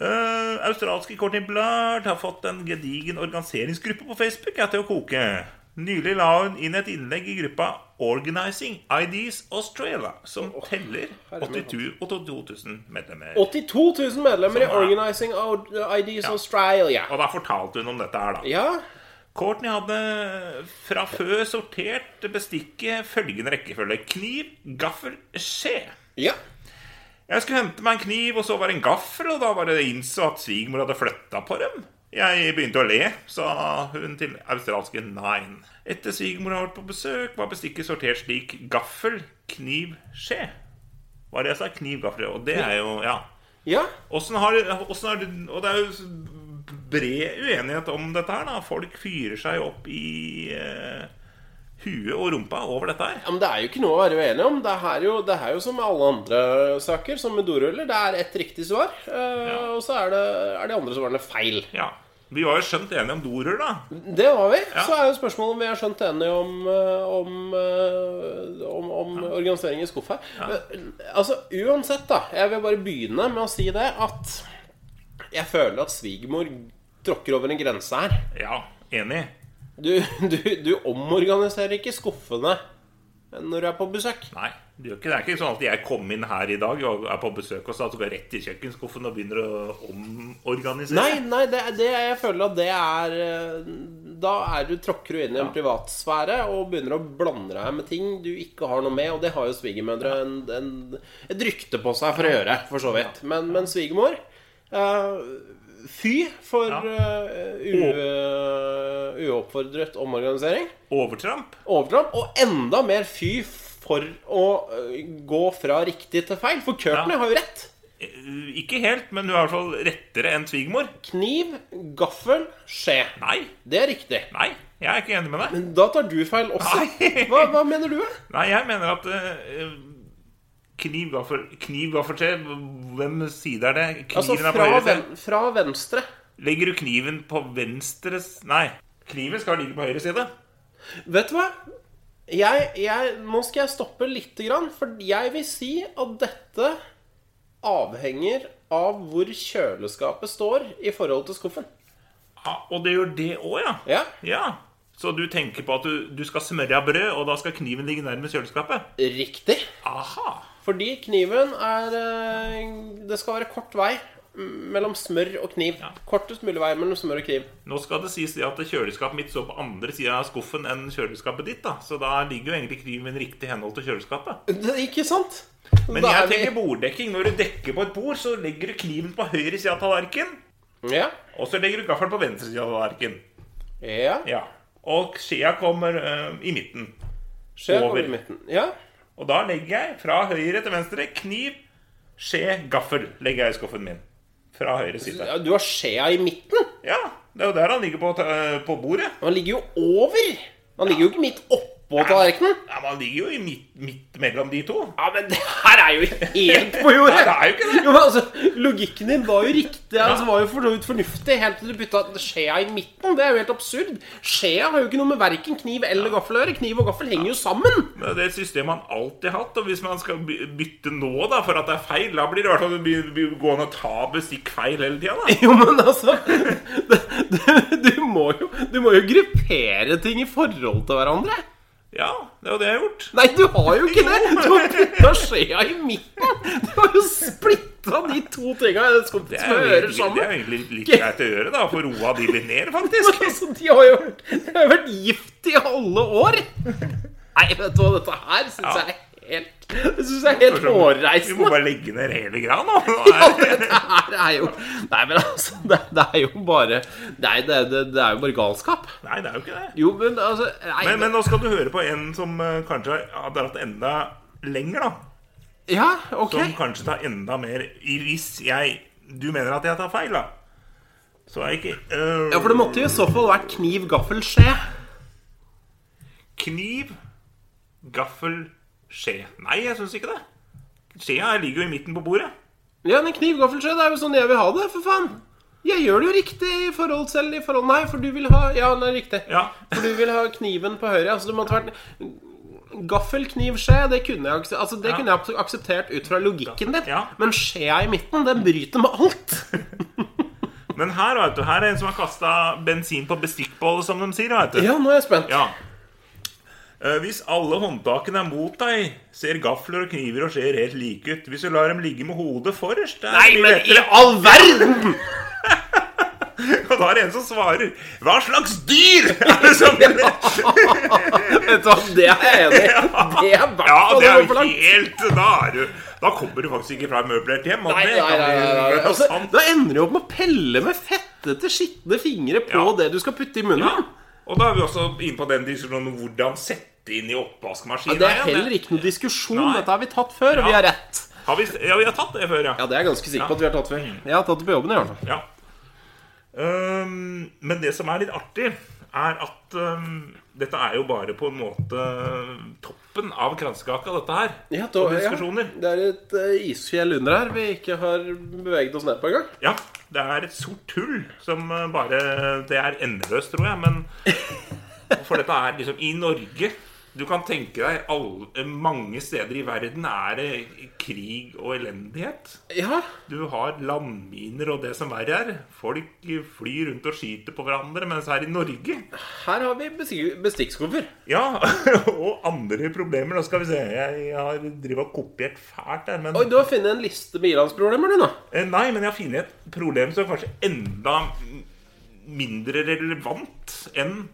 S1: Eh, australske Courtney Blard har fått en gedigen organiseringsgruppe på Facebook ja, til å koke. Nylig la hun inn et innlegg i gruppa Organizing IDs Australia, som teller 82 82 000 medlemmer.
S2: 82 000 medlemmer i
S1: Sånn, ja.
S2: Organizing Out- IDs Australia.
S1: Og da fortalte hun om dette her, da.
S2: Ja.
S1: Courtney hadde fra før sortert bestikket følgende rekkefølge. Kniv, gaffel, skje.
S2: Ja.
S1: Jeg skulle hente meg en kniv, og så var det en gaffel, og da var det innså at svigermor hadde flytta på dem. Jeg begynte å le, sa hun til australske Nine. Etter svigermor har vært på besøk, var bestikket sortert slik gaffel, kniv, skje. Hva er det jeg sa? Kniv, gaffel, og det er jo Ja.
S2: Ja.
S1: Åssen har, åssen har Og det er jo s- bred uenighet om dette her, da. Folk fyrer seg opp i eh, huet og rumpa over dette her.
S2: Ja, Men det er jo ikke noe å være uenig om. Det er jo, det er jo som med alle andre saker, som med doruller. Det er ett riktig svar, eh, og så er det, er de andre svarene feil.
S1: Ja. Vi var jo skjønt enige om dorull, da.
S2: Det var vi. Så er jo spørsmålet om vi er skjønt enige om, eh, om, eh, om, om organisering i skuff her. Men, Altså, uansett, da. Jeg vil bare begynne med å si det at jeg føler at svigermor tråkker over en grense her.
S1: Ja, enig.
S2: Du, du, du omorganiserer ikke skuffene når du er på besøk.
S1: Nei. Det er jo ikke, det er ikke sånn at jeg kom inn her i dag og er på besøk og så går jeg rett i kjøkkenskuffen og begynner å omorganisere.
S2: Nei, nei det, det, jeg føler at det er eh, Da er du, tråkker du inn i en privatsfære og begynner å blande deg med ting du ikke har noe med, og det har jo svigermødre en, en, et rykte på seg for å gjøre, for så vidt. Men, men svigermor eh, Fy for
S1: Ja.
S2: eh, u- uoppfordret omorganisering.
S1: Overtramp?
S2: Overtramp. Og enda mer fy for å eh, gå fra riktig til feil, for Courtney
S1: Ja.
S2: har jo rett.
S1: Eh, Ikke helt, men du er i hvert fall rettere enn svigermor.
S2: Kniv, gaffel, skje.
S1: Nei.
S2: Det er riktig.
S1: Nei, jeg er ikke enig med deg.
S2: Men da tar du feil også.
S1: Nei.
S2: Hva, hva mener du? da?
S1: Nei, jeg mener at eh, kniv, gaffel, kniv, gaffel, skje Hvem side er det? Kniven
S2: Altså,
S1: er på
S2: fra,
S1: høyre side.
S2: ven, fra venstre.
S1: Legger du kniven på venstre s- Nei. Kniven skal ligge på høyre side.
S2: Vet du hva? Jeg, jeg, nå skal jeg stoppe lite grann, for jeg vil si at dette avhenger av hvor kjøleskapet står i forhold til skuffen.
S1: Ja, og det gjør det òg, ja.
S2: Ja,
S1: Så du tenker på at du, du skal smøre av brød, og da skal kniven ligge nærmest kjøleskapet?
S2: riktig.
S1: Aha.
S2: Fordi kniven er eh, Det skal være kort vei mellom smør og kniv. Kortest mulig vei mellom smør og kniv.
S1: Nå skal det sies det at kjøleskapet mitt står på andre sida av skuffen enn kjøleskapet ditt, da. Så da ligger jo egentlig kniven riktig i henhold til kjøleskapet.
S2: Det, ikke sant?
S1: Men
S2: Da
S1: jeg
S2: er vi-
S1: tenker borddekking. Når du dekker på et bord, så legger du kniven på høyre side av tallerkenen.
S2: Ja.
S1: Og så legger du gaffelen på venstre side av tallerkenen.
S2: ja.
S1: Ja. Og skjea kommer eh, i midten.
S2: Skjer
S1: Over.
S2: over i midten. Ja.
S1: Og da legger jeg fra høyre til venstre kniv, skje, gaffel. Legger jeg i skuffen min. Fra høyre side.
S2: Ja, Du har skjea i midten.
S1: Ja, det er jo der han ligger på, ta- på bordet.
S2: Han ligger jo over. Han ligger jo ikke midt oppe. oppå tallerkenen?
S1: Ja, Man ligger jo i midt, midt mellom de to.
S2: Ja, men det her er jo helt på jordet!
S1: Nei, det er jo ikke det.
S2: men altså, Logikken din var jo riktig. Altså, var jo for så vidt fornuftig Helt til du bytta skjea i midten. Det er jo helt absurd. Skjea har jo ikke noe med verken kniv eller gaffel å gjøre. Kniv og gaffel henger jo sammen.
S1: Det er et system man alltid har hatt. Og hvis man skal by- bytte nå da, for at det er feil, da blir det i hvert fall by- by- gående og ta bestikk feil hele tida.
S2: Jo, men altså det, det, du, må jo, du må jo gruppere ting i forhold til hverandre.
S1: Ja, det er jo det jeg har gjort.
S2: Nei, du har jo ikke det! Du har putta skjea i midten! Du har jo splitta de to tinga som
S1: Det er jo
S2: hører
S1: egentlig, det er
S2: sammen.
S1: jo egentlig litt greit å gjøre, da, for roa de litt ned, faktisk.
S2: Men altså, de har jo vært, de har jo vært gift i alle år! Nei, vet du hva, dette her syns
S1: Ja.
S2: jeg er helt Det synes jeg er helt
S1: Vi må
S2: hårreisende.
S1: bare legge ned hele greia nå. Nå
S2: Ja,
S1: er-
S2: dette her er jo Nei, men altså, det, det er jo bare Nei, det, det, det er jo bare galskap.
S1: Nei, det er jo ikke det.
S2: Jo, men altså nei,
S1: Men, men nå skal du høre på en som eh, kanskje har dratt enda lenger, da.
S2: Ja, ok.
S1: Som kanskje tar enda mer i hvis jeg Du mener at jeg tar feil, da? Så er jeg ikke eh,
S2: Ja, for det måtte jo i så fall vært kniv, gaffel, skje.
S1: Kniv, gaffel, skje. Nei, jeg syns ikke det. Skjea ligger jo i midten på bordet.
S2: Ja, men kniv, gaffel, skje, det er jo sånn jeg vil ha det, for faen. Jeg gjør det jo riktig i forhold selv i forhold Nei, for du vil ha Ja, det er riktig.
S1: Ja.
S2: For du vil ha kniven på høyre. Altså, det måtte vært Gaffel, kniv, skje, det kunne jeg, akse- altså, det
S1: Ja.
S2: kunne jeg abs- akseptert ut fra logikken din.
S1: Ja.
S2: Men skjea i midten, den bryter med alt.
S1: Men her vet du, her er en som har kasta bensin på bestikkbålet, som de sier. Vet du.
S2: Ja, nå er jeg spent.
S1: Ja. Eh, Hvis alle håndtakene er mot deg, ser gafler og kniver og skjer helt like ut. Hvis du lar dem ligge med hodet forrest det er
S2: Nei,
S1: mye
S2: men i
S1: lettere.
S2: all verden!
S1: Og da er det en som svarer Hva slags dyr er det som
S2: Vet du hva, det er jeg enig i. Det er i hvert
S1: Ja,
S2: fall
S1: det er
S2: noe for
S1: jo
S2: langt.
S1: helt Da, er du, da kommer du faktisk ikke fra et møblert hjem. og
S2: Nei,
S1: det
S2: nei,
S1: kan
S2: nei,
S1: vi-
S2: nei, nei.
S1: det er
S2: Altså,
S1: sant.
S2: Da ender du opp med å pelle med fettete, skitne fingre på
S1: Ja.
S2: det du skal putte i munnen.
S1: Ja. Og da er vi også inne på den diskusjonen om hvordan sette inn i oppvaskmaskinen.
S2: Ja, det er
S1: igjen.
S2: heller ikke noe diskusjon.
S1: Nei.
S2: Dette har vi tatt før, og vi har rett.
S1: har vi, ja, vi har tatt det før, ja.
S2: Ja, det er jeg ganske sikker på at vi har tatt før.
S1: Mm.
S2: Jeg har tatt det på jobben, i hvert fall.
S1: Ja. Ehm, men det som er litt artig, er at ehm, dette er jo bare på en måte øh, toppen av kransekaka, dette her.
S2: Ja,
S1: Og diskusjoner.
S2: det er et eh, isfjell under her vi ikke har beveget oss ned på engang.
S1: Ja, det er et sort hull som eh, bare Det er endeløst, tror jeg, men For dette er liksom i Norge Du kan tenke deg alle, øh, mange steder i verden er det krig og elendighet.
S2: Ja.
S1: Du har landminer og det som verre er. Folk flyr rundt og skyter på hverandre, mens her i Norge
S2: Her har vi bestik- bestikkskuffer.
S1: Ja, og andre problemer. Da skal vi se. Jeg har drivet og kopiert fælt der. Men,
S2: Oi, du har funnet en liste med ilandsproblemer, du, nå.
S1: Eh, nei, men jeg har funnet et problem som er kanskje enda m- mindre relevant enn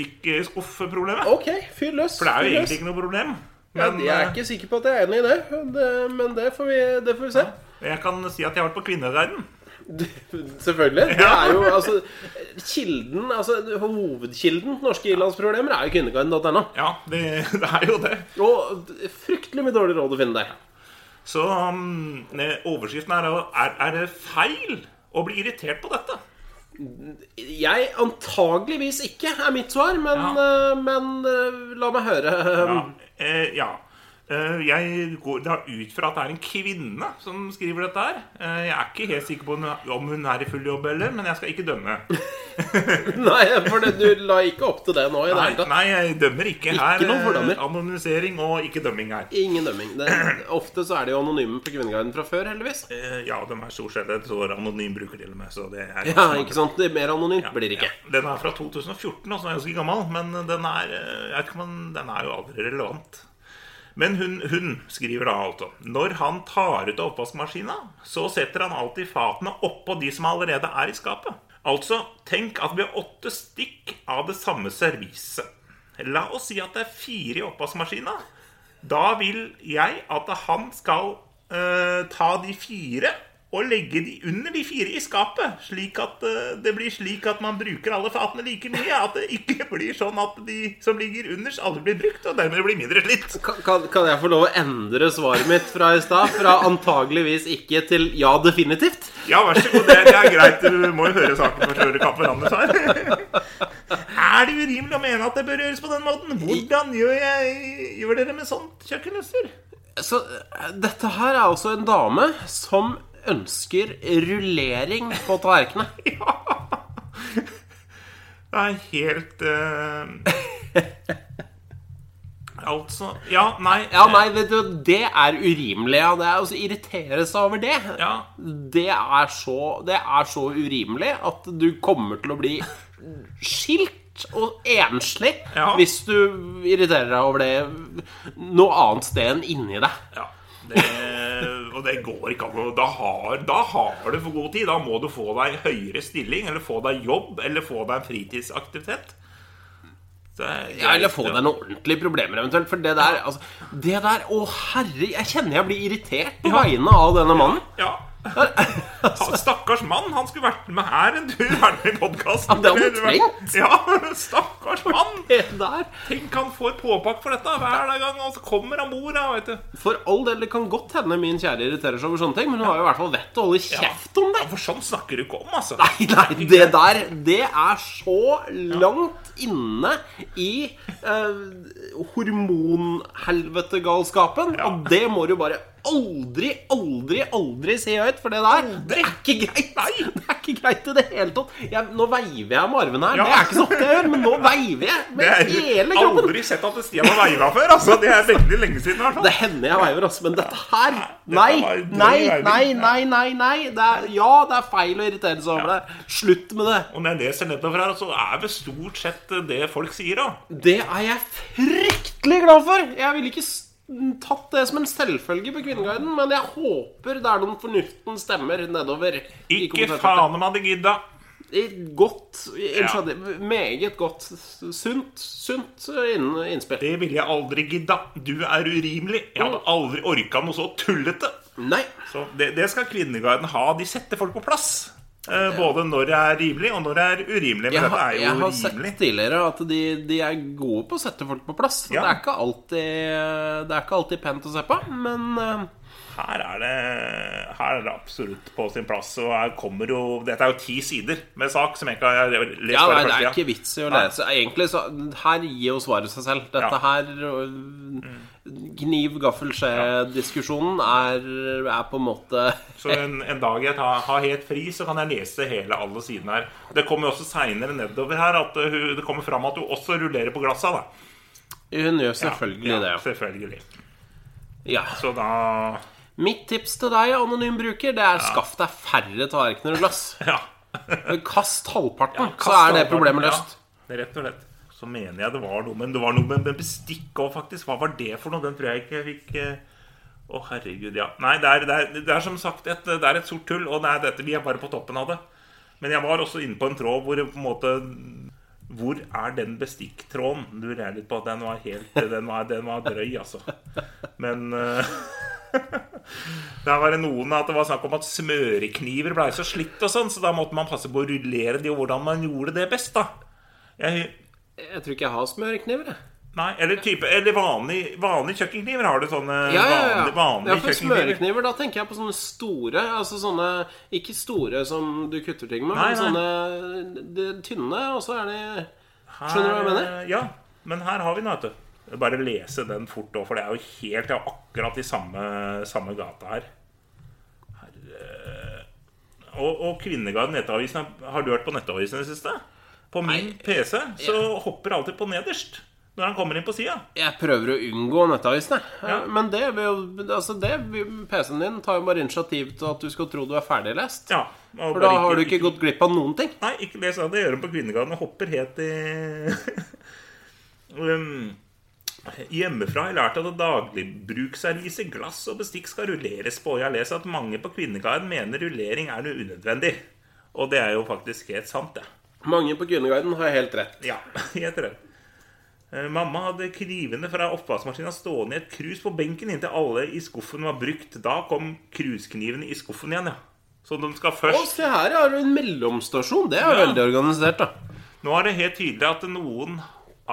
S1: bestikkskuffeproblemet.
S2: Ok, fyr løs.
S1: For det er jo
S2: fyr løs.
S1: egentlig ikke noe problem.
S2: ja,
S1: Men
S2: Jeg er ikke sikker på at jeg er enig i det, det men det får vi, det får vi se.
S1: eh, jeg kan si at jeg har vært på Kvinneguiden.
S2: Selvfølgelig. Det er jo, altså, kilden, altså Hovedkilden til norske ilandsproblemer er jo kvinneguiden.no.
S1: Ja, det, det er jo det.
S2: Og fryktelig mye dårlig råd å finne der.
S1: Så um, eh, overskriften er, jo, er Er det feil å bli irritert på dette?
S2: Jeg antageligvis ikke, er mitt svar, men,
S1: Ja.
S2: eh, men eh, la meg høre.
S1: Ja. Eh, ja. Eh, jeg går da ut fra at det er en kvinne som skriver dette her. Eh, jeg er ikke helt sikker på om hun- om hun er i full jobb eller, men jeg skal ikke dømme.
S2: Nei, for det, du la ikke opp til det nå i det
S1: Nei,
S2: hele tatt.
S1: nei jeg dømmer ikke her.
S2: noen fordommer.
S1: eh, Anonymisering og ikke dømming her.
S2: Ingen dømming. Det, ofte så er de jo anonyme på Kvinneguiden fra før, heldigvis.
S1: Eh, ja, de er stort sett et så anonym bruker til og med, så det er
S2: Ja, ikke sant? Det er mer anonymt blir det ikke.
S1: Ja, Den er fra 2014, altså den er ganske gammel, men den er, eh, jeg vet ikke om den- den er jo aldri relevant. Men hun, hun skriver da altså Når han tar ut av oppvaskmaskina, så setter han alltid fatene oppå de som allerede er i skapet. Altså, tenk at vi har åtte stikk av det samme serviset. La oss si at det er fire i oppvaskmaskina. Da vil jeg at han skal eh, ta de fire og legge de under de fire i skapet, slik at eh, det blir slik at man bruker alle fatene like mye. At det ikke blir sånn at de som ligger underst, aldri blir brukt, og dermed blir mindre slitt.
S2: Kan, kan, kan jeg få lov å endre svaret mitt fra i stad? Fra antageligvis ikke til ja, definitivt?
S1: Ja, vær så god. Det, det er greit. Du må jo høre saken først før du kan forandre svar. Er det urimelig å mene at det bør gjøres på den måten? Hvordan gjør, jeg, gjør dere med sånt kjøkkenhester?
S2: Så eh, dette her er altså en dame som ønsker rullering på tallerkenene.
S1: Det er helt eh, Altså Ja, nei.
S2: Ja, nei, vet du, det er urimelig. Ja. Det er å irritere seg over det.
S1: Ja.
S2: Det, er så, det er så urimelig at du kommer til å bli skilt og enslig
S1: Ja.
S2: hvis du irriterer deg over det noe annet sted enn inni deg.
S1: Ja, det, og det går ikke an. å- Da har, da har du for god tid. Da må du få deg høyere stilling, eller få deg jobb, eller få deg en fritidsaktivitet. Så jeg-
S2: Ja, eller få deg noen ordentlige problemer eventuelt. For det der, altså Det der, å herre Jeg kjenner jeg blir irritert på vegne av denne mannen.
S1: Ja. Han- Stakkars mann, han skulle vært med her en tur. Er det i podkasten?
S2: Ja, det hadde han trengt.
S1: Ja, stakkars mann!
S2: Det der
S1: Tenk han får påpakk for dette hver gang, og så kommer han bord her, vet du.
S2: For all del, det kan godt hende min kjære irriterer seg over sånne ting, men hun har jo i hvert fall vett til å holde kjeft om det.
S1: Ja, for sånn snakker du ikke om, altså.
S2: Nei, nei, det der Det er så langt inne i eh, hormonhelvetegalskapen. Og det må du bare aldri, aldri, aldri si høyt, for det der det er ikke greit. Det er ikke greit i det hele tatt. Jeg, nå veiver jeg med armene her.
S1: Ja.
S2: Det er ikke så ofte jeg gjør, men nå veiver jeg
S1: Det
S2: med
S1: er
S2: hele kroppen.
S1: aldri sett at Stian har veiva før. altså Det er veldig lenge siden. i hvert fall.
S2: Det hender jeg veiver, altså, men dette her Nei,
S1: Dette var en drøy
S2: nei,
S1: veiving.
S2: nei, nei. nei, nei. Det er, ja, det er feil å irritere seg over det. Slutt med det.
S1: Og når jeg leser nedover her, så er det stort sett det folk sier òg.
S2: Det er jeg fryktelig glad for! Jeg ville ikke s- tatt det som en selvfølge på Kvinneguiden, men jeg håper det er noen fornuftens stemmer nedover. i
S1: Ikke
S2: kommentarfeltet.
S1: faen om hadde gidda.
S2: I Godt Unnskyld. Meget godt. Sunt, sunt inn- innspill.
S1: Det ville jeg aldri gidda. Du er urimelig. Jeg
S2: Mm.
S1: hadde aldri orka noe så tullete.
S2: Nei.
S1: Så det, det skal Kvinneguiden ha. De setter folk på plass. Eh, både når det er rimelig, og når det er urimelig. Men
S2: Jeg
S1: dette
S2: har,
S1: er
S2: jeg
S1: jo
S2: har sett
S1: rimelig.
S2: tidligere at de, de er gode på å sette folk på plass.
S1: Ja.
S2: Det, er ikke alltid, det er ikke alltid pent å se på, men eh,
S1: Her er, det, her er det absolutt på sin plass. Og her kommer jo Dette er jo ti sider med sak som jeg ikke har lest.
S2: Ja,
S1: bare
S2: nei, det er
S1: første, ja.
S2: ikke vits i å lese. Egentlig så Her gir jo svaret seg selv.
S1: Ja.
S2: Dette
S1: Mm.
S2: her øh, Kniv, gaffel, skje-diskusjonen er, er på en måte
S1: Så en, en dag jeg tar, har helt fri, så kan jeg lese hele alle sidene her. Det kommer jo også seinere nedover her at uh, hun, det kommer fram at hun også rullerer på glassa. da
S2: Hun gjør selvfølgelig
S1: ja,
S2: det.
S1: Selvfølgelig.
S2: Ja.
S1: Så da
S2: Mitt tips til deg, anonym bruker, det er skaff deg færre tallerkener og glass.
S1: Ja.
S2: Kast halvparten,
S1: kast
S2: så er det
S1: halvparten,
S2: problemet
S1: ja.
S2: løst.
S1: Rett og slett. Så mener jeg det var noe men det var noe med med bestikk òg, faktisk. Hva var det for noe? Den tror jeg ikke jeg fikk eh, Å, herregud, ja. Nei, det er, det er, det er som sagt et, det er et sort hull, og det er dette, vi er bare på toppen av det. Men jeg var også inne på en tråd hvor det på en måte Hvor er den bestikktråden? Du lurer jeg litt på at den var helt Den var, den var drøy, altså. Men eh, Der var det noen at det var snakk om at smørekniver blei så slitt og sånn, så da måtte man passe på å rullere de, og hvordan man gjorde det best, da. Jeg,
S2: Jeg tror ikke jeg har smørekniver, jeg.
S1: nei, eller type Eller vanlige vanlig kjøkkenkniver. Har du sånne
S2: Ja, ja, ja.
S1: vanlige, vanlige
S2: ja, for
S1: kjøkkenkniver?
S2: smørekniver, da tenker jeg på sånne store Altså sånne Ikke store som du kutter ting med,
S1: Nei,
S2: men sånne de, tynne, og så er de Skjønner du hva jeg
S1: Her,
S2: mener?
S1: eh, Ja, men her har vi den, vet du. Bare lese den fort òg, for det er jo helt det er akkurat i samme, samme gata her. Herre- Og, og Kvinneguiden Nettavisen Har du hørt på Nettavisen i det siste? På min PC så hopper alltid på nederst når han kommer inn på sida.
S2: Jeg prøver å unngå nettavisen, jeg.
S1: Ja.
S2: Men det vil jo Altså, det vil- PC-en din tar jo bare initiativ til at du skal tro du er ferdiglest.
S1: Ja, og
S2: For
S1: bare
S2: da har du ikke gått glipp av noen ting.
S1: Nei, ikke les av det. Gjør det på Kvinnegarden og hopper helt i um, Hjemmefra har jeg lært at dagligbrukservise, glass og bestikk skal rulleres på. Jeg har lest at mange på Kvinnegarden mener rullering er noe unødvendig. Og det er jo faktisk helt sant, det.
S2: Mange på Kvinneguiden har helt rett.
S1: Ja, helt rett. Eh, Mamma hadde knivene fra oppvaskmaskina stående i et krus på benken inntil alle i skuffen var brukt. Da kom krusknivene i skuffen igjen, ja. Så de skal
S2: Å,
S1: først
S2: se her, ja. har du En mellomstasjon. Det er jo
S1: Ja.
S2: veldig organisert, da.
S1: Nå er det helt tydelig at noen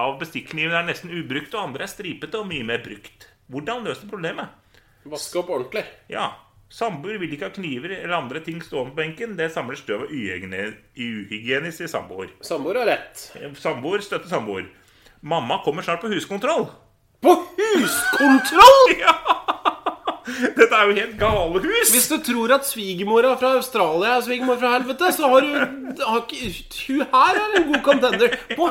S1: av bestikknivene er nesten ubrukte, og andre er stripete og mye mer brukt. Hvordan løse problemet?
S2: Vaske opp ordentlig.
S1: Ja, samboer vil ikke ha kniver eller andre ting stående på benken. Det samler støv og uhygiene- uhygienisk i samboer.
S2: Samboer har rett.
S1: Samboer støtter samboer. Mamma kommer snart på huskontroll.
S2: På huskontroll!
S1: Dette er jo helt gale hus!
S2: Hvis du tror at svigermora fra Australia er svigermor fra helvete, så har du har ikke, Hun her er en god contender. På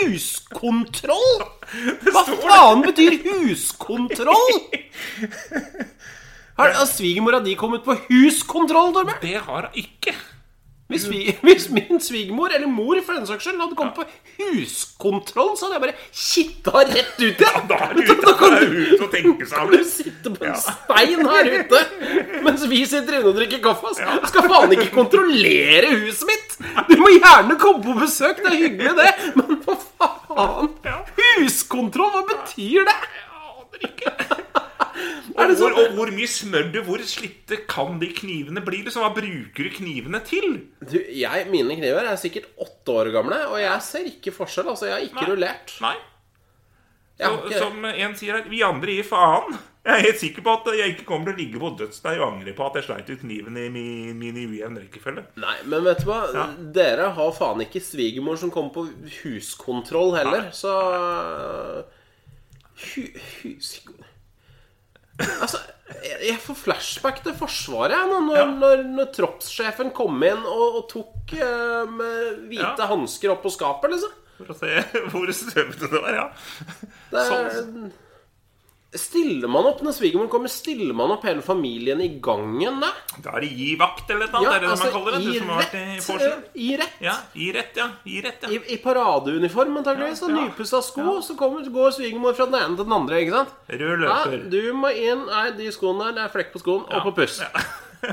S2: huskontroll! Hva faen betyr huskontroll? Har har svigermora di kommet på huskontroll, Dorme?
S1: Det har hun ikke.
S2: Hvis, vi, hvis min svigermor, eller mor for den saks skyld, hadde kommet på huskontroll, så hadde jeg bare kitta rett ut igjen.
S1: Da er det
S2: Da
S1: ute
S2: kan
S1: av
S2: du
S1: hus og tenke seg
S2: kan
S1: om.
S2: du sitte på en stein her ute mens vi sitter inne og drikker kaffe? ass? Du skal faen ikke kontrollere huset mitt! Du må gjerne komme på besøk, det er hyggelig, det, men hva faen? Huskontroll, hva betyr det? Er
S1: Og
S2: det
S1: hvor,
S2: sånn
S1: og hvor mye smør du, hvor slitte kan de knivene bli? Liksom, hva bruker du knivene til?
S2: du, jeg, Mine kniver er sikkert åtte år gamle, og jeg ser ikke forskjell. Altså, Jeg har ikke
S1: Nei.
S2: rullert.
S1: Nei.
S2: Jeg har
S1: Og
S2: ikke-
S1: som en sier her, vi andre gir faen. Jeg er helt sikker på at jeg ikke kommer til å ligge på dødsdeg og angre på at jeg sleit ut kniven i min, min i ujevn rekkefølge.
S2: Nei, men vet du hva?
S1: Ja.
S2: Dere har faen ikke svigermor som kommer på huskontroll heller,
S1: Nei.
S2: så hu, hus... Altså, jeg, jeg får flashback til Forsvaret jeg, nå, når,
S1: Ja.
S2: når, når troppssjefen kom inn og, og tok eh, med hvite
S1: Ja.
S2: hansker opp på skapet, liksom.
S1: For å se hvor støvete det var, ja.
S2: Det er,
S1: Sånn.
S2: Stiller man opp når svigermor kommer? Stiller man opp hele familien i gangen da? altså,
S1: Da er det gi vakt eller noe, er det det man kaller det? Du som har vært i Porsgrunn?
S2: eh, i rett.
S1: Ja, gi rett, ja. Gi rett, ja.
S2: I, i paradeuniform, antakeligvis.
S1: Ja,
S2: Ja,
S1: ja.
S2: Nypussa sko, så kommer, går svigermor fra den ene til den andre. ikke sant?
S1: Rød
S2: Nei,
S1: løper.
S2: du må inn Nei, de skoene der, det er flekk på skoen. Opp og puss.
S1: Ja.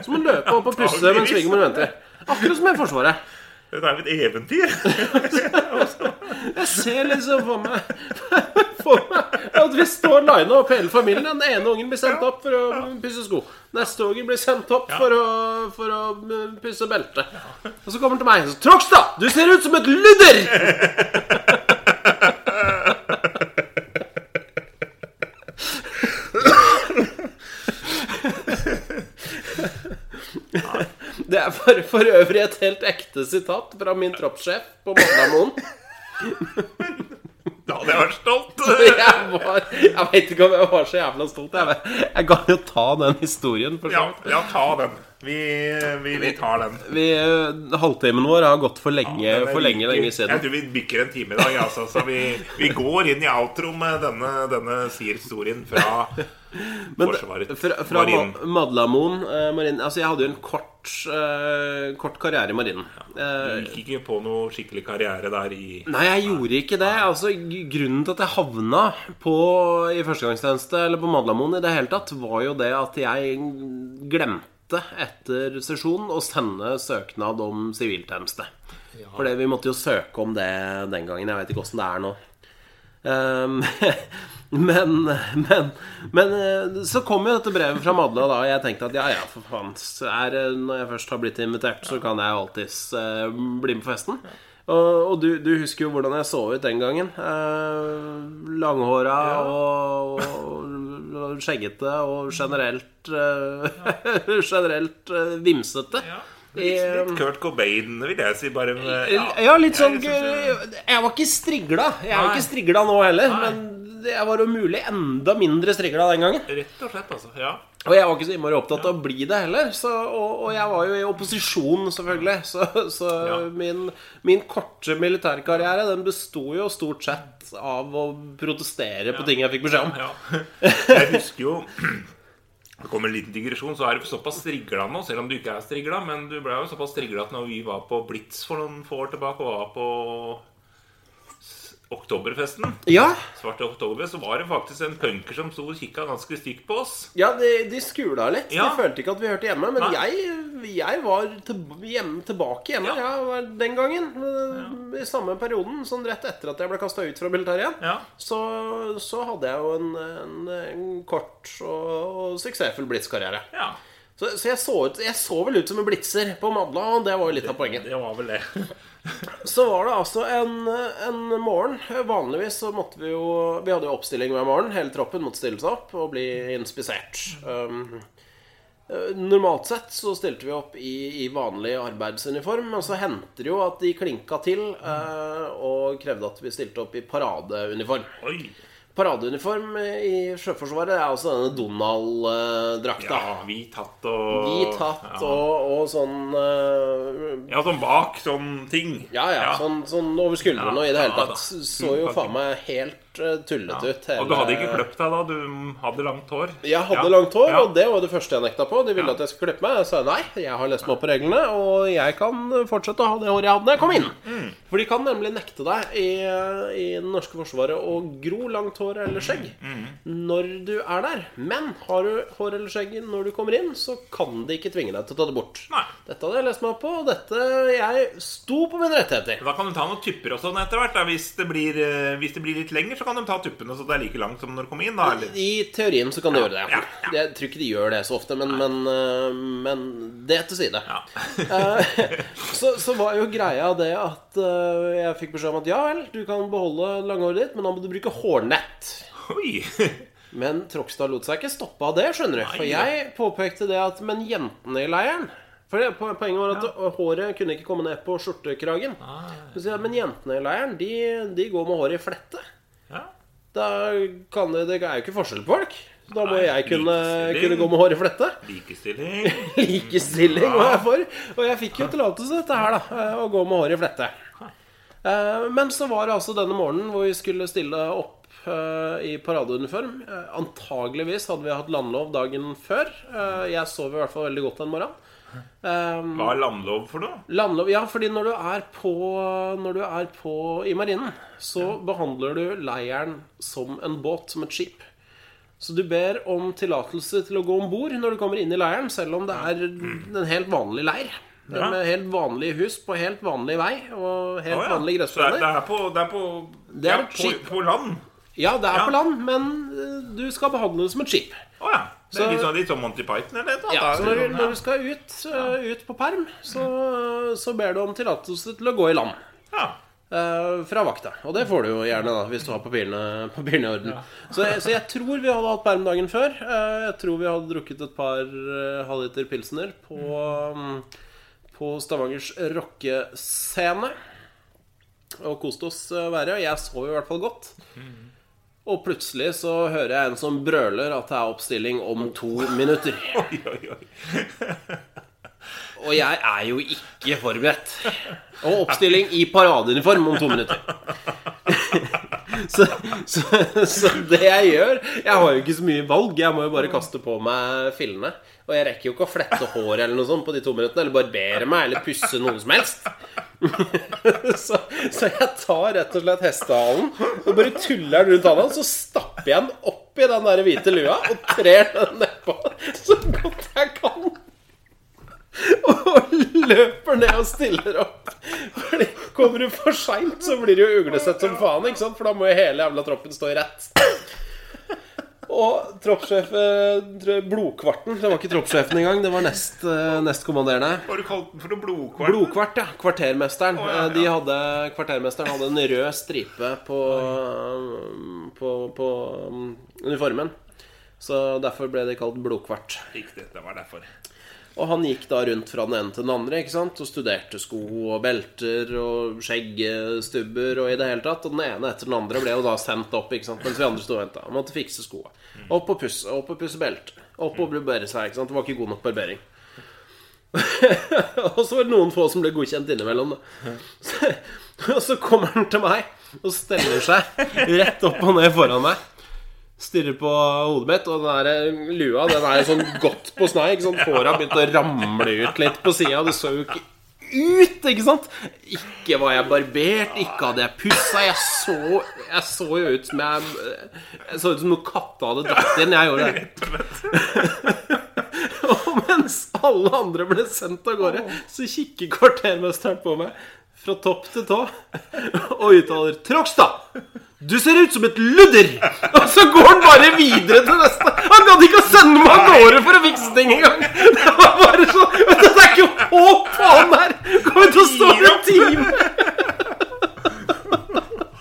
S2: Så må du løpe opp og pusse mens
S1: Antageligvis.
S2: svigermor venter. Akkurat som i Forsvaret.
S1: Dette er jo et eventyr.
S2: Jeg ser liksom for meg, for meg at vi står lina opp hele familien. Den ene ungen blir sendt opp for å pusse sko. Neste ungen blir sendt opp for, å, for å mm, pusse belte. Og så kommer han til meg. Så, Trogstad, du ser ut som et ludder! Det er for, for øvrig et helt ekte sitat fra min troppssjef på Magnamoen.
S1: Da hadde jeg vært stolt.
S2: Jeg, var- jeg vet ikke om jeg var så jævla stolt. Jeg, jeg kan jo ta den historien. For så
S1: Ja,
S2: vidt.
S1: ja ta den. Vi, vi, vi tar den.
S2: Vi, eh, halvtimen vår har gått for lenge,
S1: Den er
S2: for lenge,
S1: like-
S2: lenge
S1: Jeg
S2: siden.
S1: tror vi bikker en time i dag. Altså, så vi, vi går inn i outro med denne, denne sier-historien fra Forsvaret.
S2: Fra, fra
S1: Marinen.
S2: Ma- Madlamoen eh, marinen Altså, jeg hadde jo en kort, eh, kort karriere i marinen. Eh,
S1: Du gikk ikke på noe skikkelig karriere der i
S2: Nei, jeg gjorde ikke det. Altså, g- Grunnen til at jeg havna på, i førstegangstjeneste eller på Madlamoen i det hele tatt, var jo det at jeg glemte etter sesjon å sende søknad om siviltjeneste. For vi måtte jo søke om det den gangen. Jeg veit ikke åssen det er nå. Um, men, men, men eh, så kom jo dette brevet fra Madla, da, og jeg tenkte at ja, ja, for faen. så Er, det- når jeg først har blitt invitert, så kan jeg alltids eh, bli med på festen. Og, og du, du husker jo hvordan jeg så ut den gangen. Uh, langhåra og, og, og skjeggete og generelt eh, Generelt eh, vimsete.
S1: ja,
S2: I-
S1: litt, litt Kurt Cobain, vil jeg si. Bare med,
S2: Eh, ja, ja, litt sånn
S1: jeg synes
S2: Jeg var ikke strigla. Jeg er
S1: Nei.
S2: ikke strigla nå heller, men jeg var om mulig enda mindre strigla den gangen.
S1: det- Rett og slett, altså. Ja.
S2: Og jeg var ikke så innmari opptatt av å bli det heller. Så, og, og jeg var jo i opposisjon, selvfølgelig. Så, så
S1: Ja.
S2: min, min korte militærkarriere Den besto jo stort sett av å protestere på ting jeg fikk beskjed om.
S1: Ja. Jeg husker jo Det kommer en liten digresjon, så er du såpass strigla nå, selv om du ikke er strigla, men du ble jo såpass strigla at når vi var på Blitz for noen få år tilbake, og var på s- Oktoberfesten,
S2: Ja,
S1: Svarte Oktober, så var det faktisk en punker som sto og kikka ganske stygt på oss.
S2: ja de, de skula litt.
S1: Ja.
S2: De følte ikke at vi hørte hjemme. Men
S1: Nei.
S2: jeg, jeg var til, hjemme, tilbake hjemme
S1: Ja.
S2: jeg var den gangen. eh, I samme perioden, sånn rett etter at jeg ble kasta ut fra militæret igjen.
S1: Ja.
S2: Så, så hadde jeg jo en, en, en kort og, og suksessfull blitzkarriere.
S1: ja.
S2: Så, så jeg, så ut, jeg så vel ut som en blitzer på Madla, og det var jo litt av poenget.
S1: Det var vel det.
S2: Så var det altså en, en morgen. Vanligvis så måtte vi jo Vi hadde jo oppstilling hver morgen. Hele troppen måtte stille seg opp og bli inspisert. Um, eh, normalt sett så stilte vi opp i, i vanlig arbeidsuniform, men så hendte det jo at de klinka til eh, og krevde at vi stilte opp i paradeuniform.
S1: Oi.
S2: Paradeuniform i Sjøforsvaret er altså denne Donald-drakta.
S1: Ja, vi tatt og
S2: Hvit hatt
S1: ja.
S2: og, og sånn eh,
S1: Ja, sånn bak sånn ting.
S2: Ja, ja, Sånn, sånn over skuldrene
S1: Ja,
S2: og i det hele
S1: ja
S2: tatt.
S1: da. Mm,
S2: Så jo faen meg helt eh, tullete ut.
S1: Og du hadde ikke kløpt deg da? Du hadde langt hår?
S2: eh, Jeg hadde
S1: Ja.
S2: langt hår,
S1: Ja.
S2: og det var det første jeg nekta på. De ville
S1: Ja.
S2: at jeg skulle klippe meg. Jeg sa nei, jeg har lest meg opp på reglene, og jeg kan fortsette å ha det håret jeg hadde da jeg kom inn.
S1: Mm.
S2: For de kan nemlig nekte deg i, eh, i det norske forsvaret å gro langt hår eller skjegg
S1: Mm.
S2: når du er der. Men har du hår eller skjegg når du kommer inn, så kan de ikke tvinge deg til å ta det bort.
S1: Nei.
S2: Dette hadde jeg lest meg opp på, og dette Jeg sto på mine rettigheter.
S1: Da kan du ta noen tupper og sånn etter hvert. Da. Hvis, det blir, eh, hvis det blir litt lenger, så kan de ta tuppene så det er like langt som når du kommer inn. Da, eller?
S2: I teorien så kan de gjøre det.
S1: ja, ja.
S2: Jeg tror ikke de gjør det så ofte, men, men, øh, men det er til side.
S1: Ja.
S2: Eh, så, så var jo greia det at øh, jeg fikk beskjed om at ja vel, du kan beholde langhåret ditt, men da må du bruke hårnett.
S1: Oi!
S2: Men Trokstad lot seg ikke stoppe av det, skjønner du. For
S1: Nei.
S2: jeg påpekte det at Men jentene i leiren For det, po- poenget var at håret kunne ikke komme ned på skjortekragen.
S1: Ah,
S2: Så sier jeg, men jentene i leiren, de, de går med håret i flette.
S1: Ja.
S2: Da kan det, det er jo ikke forskjell på folk. Så Da må
S1: Nei,
S2: jeg kunne,
S1: likestilling.
S2: kunne gå med håret i flette.
S1: Likestilling.
S2: Likestilling var jeg for. Og jeg fikk jo tillatelse til dette her, da. Å gå med håret i flette. Eh, Men så var det altså denne morgenen hvor vi skulle stille opp eh, i paradeuniform. Eh, Antageligvis hadde vi hatt landlov dagen før. Eh, Jeg sov i hvert fall veldig godt den morgenen. Eh,
S1: Hva er landlov for noe?
S2: Landlov, ja, fordi når du er på, når du er på i marinen, så behandler du leiren som en båt, som et skip. Så du ber om tillatelse til å gå om bord når du kommer inn i leiren, selv om det er en helt vanlig leir.
S1: Ja.
S2: Med helt vanlige hus på helt vanlig vei og helt
S1: Å, ja.
S2: vanlige
S1: Så det er, det
S2: gressplaner.
S1: er på, det er på,
S2: Det er
S1: ja,
S2: et
S1: på,
S2: skip.
S1: på land?
S2: Ja, det er
S1: Ja.
S2: på land, men eh, du skal behandle det som et skip.
S1: Å ja. Det er
S2: Så-
S1: litt sånn, litt sånn Monty Python eller noe?
S2: Ja,
S1: Da er
S2: så
S1: det
S2: når, du-
S1: sånn,
S2: når du skal ut, eh, ut på perm, så, så ber du om tillatelse til å gå i land.
S1: ja.
S2: Eh, fra vakta. Og det får du jo gjerne, da, hvis du har papirene, papirene i orden. Så, jeg, så jeg tror vi hadde hatt perm dagen før. Eh, jeg tror vi hadde drukket et par eh, halvliter pilsener på, mm, på Stavangers rockescene. Og koste oss eh, verre. Og jeg sov i hvert fall godt. Og plutselig så hører jeg en som brøler at det er oppstilling om to minutter.
S1: ja. Oi, oi, oi.
S2: Og jeg er jo ikke forberedt. Og oppstilling i paradeuniform om to minutter. Så, så, så det jeg gjør Jeg har jo ikke så mye valg. Jeg må jo bare kaste på meg fillene. Og jeg rekker jo ikke å flette håret eller noe sånt på de to minuttene. Eller barbere meg eller pusse noe som helst. Så, så jeg tar rett og slett hestehalen og bare tuller den rundt halen. Så stapper jeg den oppi den der hvite lua og trer den nedpå så godt jeg kan og løper ned og stiller opp. Fordi Kommer du for seint, så blir du jo uglesett som faen, ikke sant? for da må jo hele jævla troppen stå i rett. Og troppssjef eh, tror jeg, Blodkvarten Det var ikke troppssjefen engang, det var nest, eh, nestkommanderende.
S1: Hva har du kalt den for noe blodkvarn?
S2: Blodkvart, ja. Kvartermesteren.
S1: Å, ja,
S2: Eh, De hadde, kvartermesteren hadde en rød stripe på, på, på mm, uniformen. Så derfor ble de kalt Blodkvart.
S1: Riktig, det var derfor.
S2: Og han gikk da rundt fra den ene til den andre ikke sant? og studerte sko og belter og skjeggstubber og i det hele tatt. Og den ene etter den andre ble jo da sendt opp ikke sant? mens vi andre sto og venta. Måtte fikse skoa. Opp og pusse, opp og pusse belte. Opp og barbere seg. ikke sant? Det var ikke god nok barbering. og så var det noen få som ble godkjent innimellom, da. Så, og så kommer han til meg og steller seg rett opp og ned foran meg stirrer på hodet mitt, og den der lua den er jo sånn godt på snei. ikke sant? Håret har begynt å ramle ut litt på sida. Det så jo ikke ut, ikke sant? Ikke var jeg barbert, ikke hadde jeg pussa. Jeg så, jeg så jo ut som jeg eh, Jeg så ut som noen katter hadde dratt inn. Jeg gjorde det. Og mens alle andre ble sendt av gårde, så kikker kvartermesteren på meg. fra topp til tå og uttaler 'Trogstad, du ser ut som et ludder!' Og så går han bare videre til neste. Han gadd ikke å sende meg av gårde for å fikse ting engang! Det var bare sånn Det er ikke håp på han her! Kommer til å stå i en time!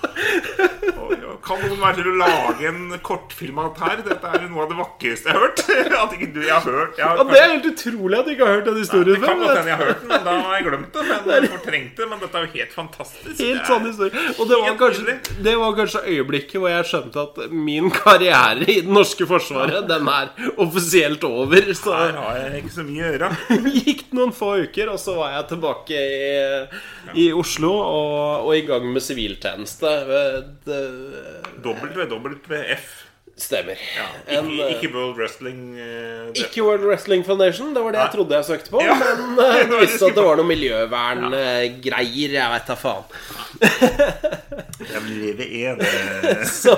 S1: Oi, Kan noen være til å lage en kortfilm av dette her? Dette er jo noe av det vakreste jeg har hørt. At ikke du, jeg har hørt jeg har,
S2: Ja, det er helt utrolig at du ikke har hørt den
S1: Det
S2: historien før.
S1: kan
S2: men
S1: godt hende jeg har hørt den, men da har jeg glemt det. Men fortrengt det, men dette er jo helt fantastisk.
S2: Helt sånn-
S1: Det er-
S2: sann historie. Og det var,
S1: Helt
S2: kanskje,
S1: nydelig.
S2: det var kanskje øyeblikket hvor jeg skjønte at min karriere i det norske forsvaret, den er offisielt over. Så
S1: Her har jeg ikke så mye å gjøre.
S2: gikk det noen få uker, og så var jeg tilbake i, i Oslo og, og i gang med siviltjeneste. Det
S1: WWF.
S2: stemmer.
S1: Ja,
S2: En,
S1: ikke,
S2: eh,
S1: ikke World Wrestling. eh, det-
S2: Ikke World Wrestling Foundation, det var det jeg trodde jeg søkte på.
S1: Ja.
S2: Men
S1: Det
S2: eh,
S1: var
S2: jeg
S1: det
S2: visste
S1: jeg
S2: at det var noe miljøverngreier. Jeg veit da faen.
S1: Jeg lever i det.
S2: Så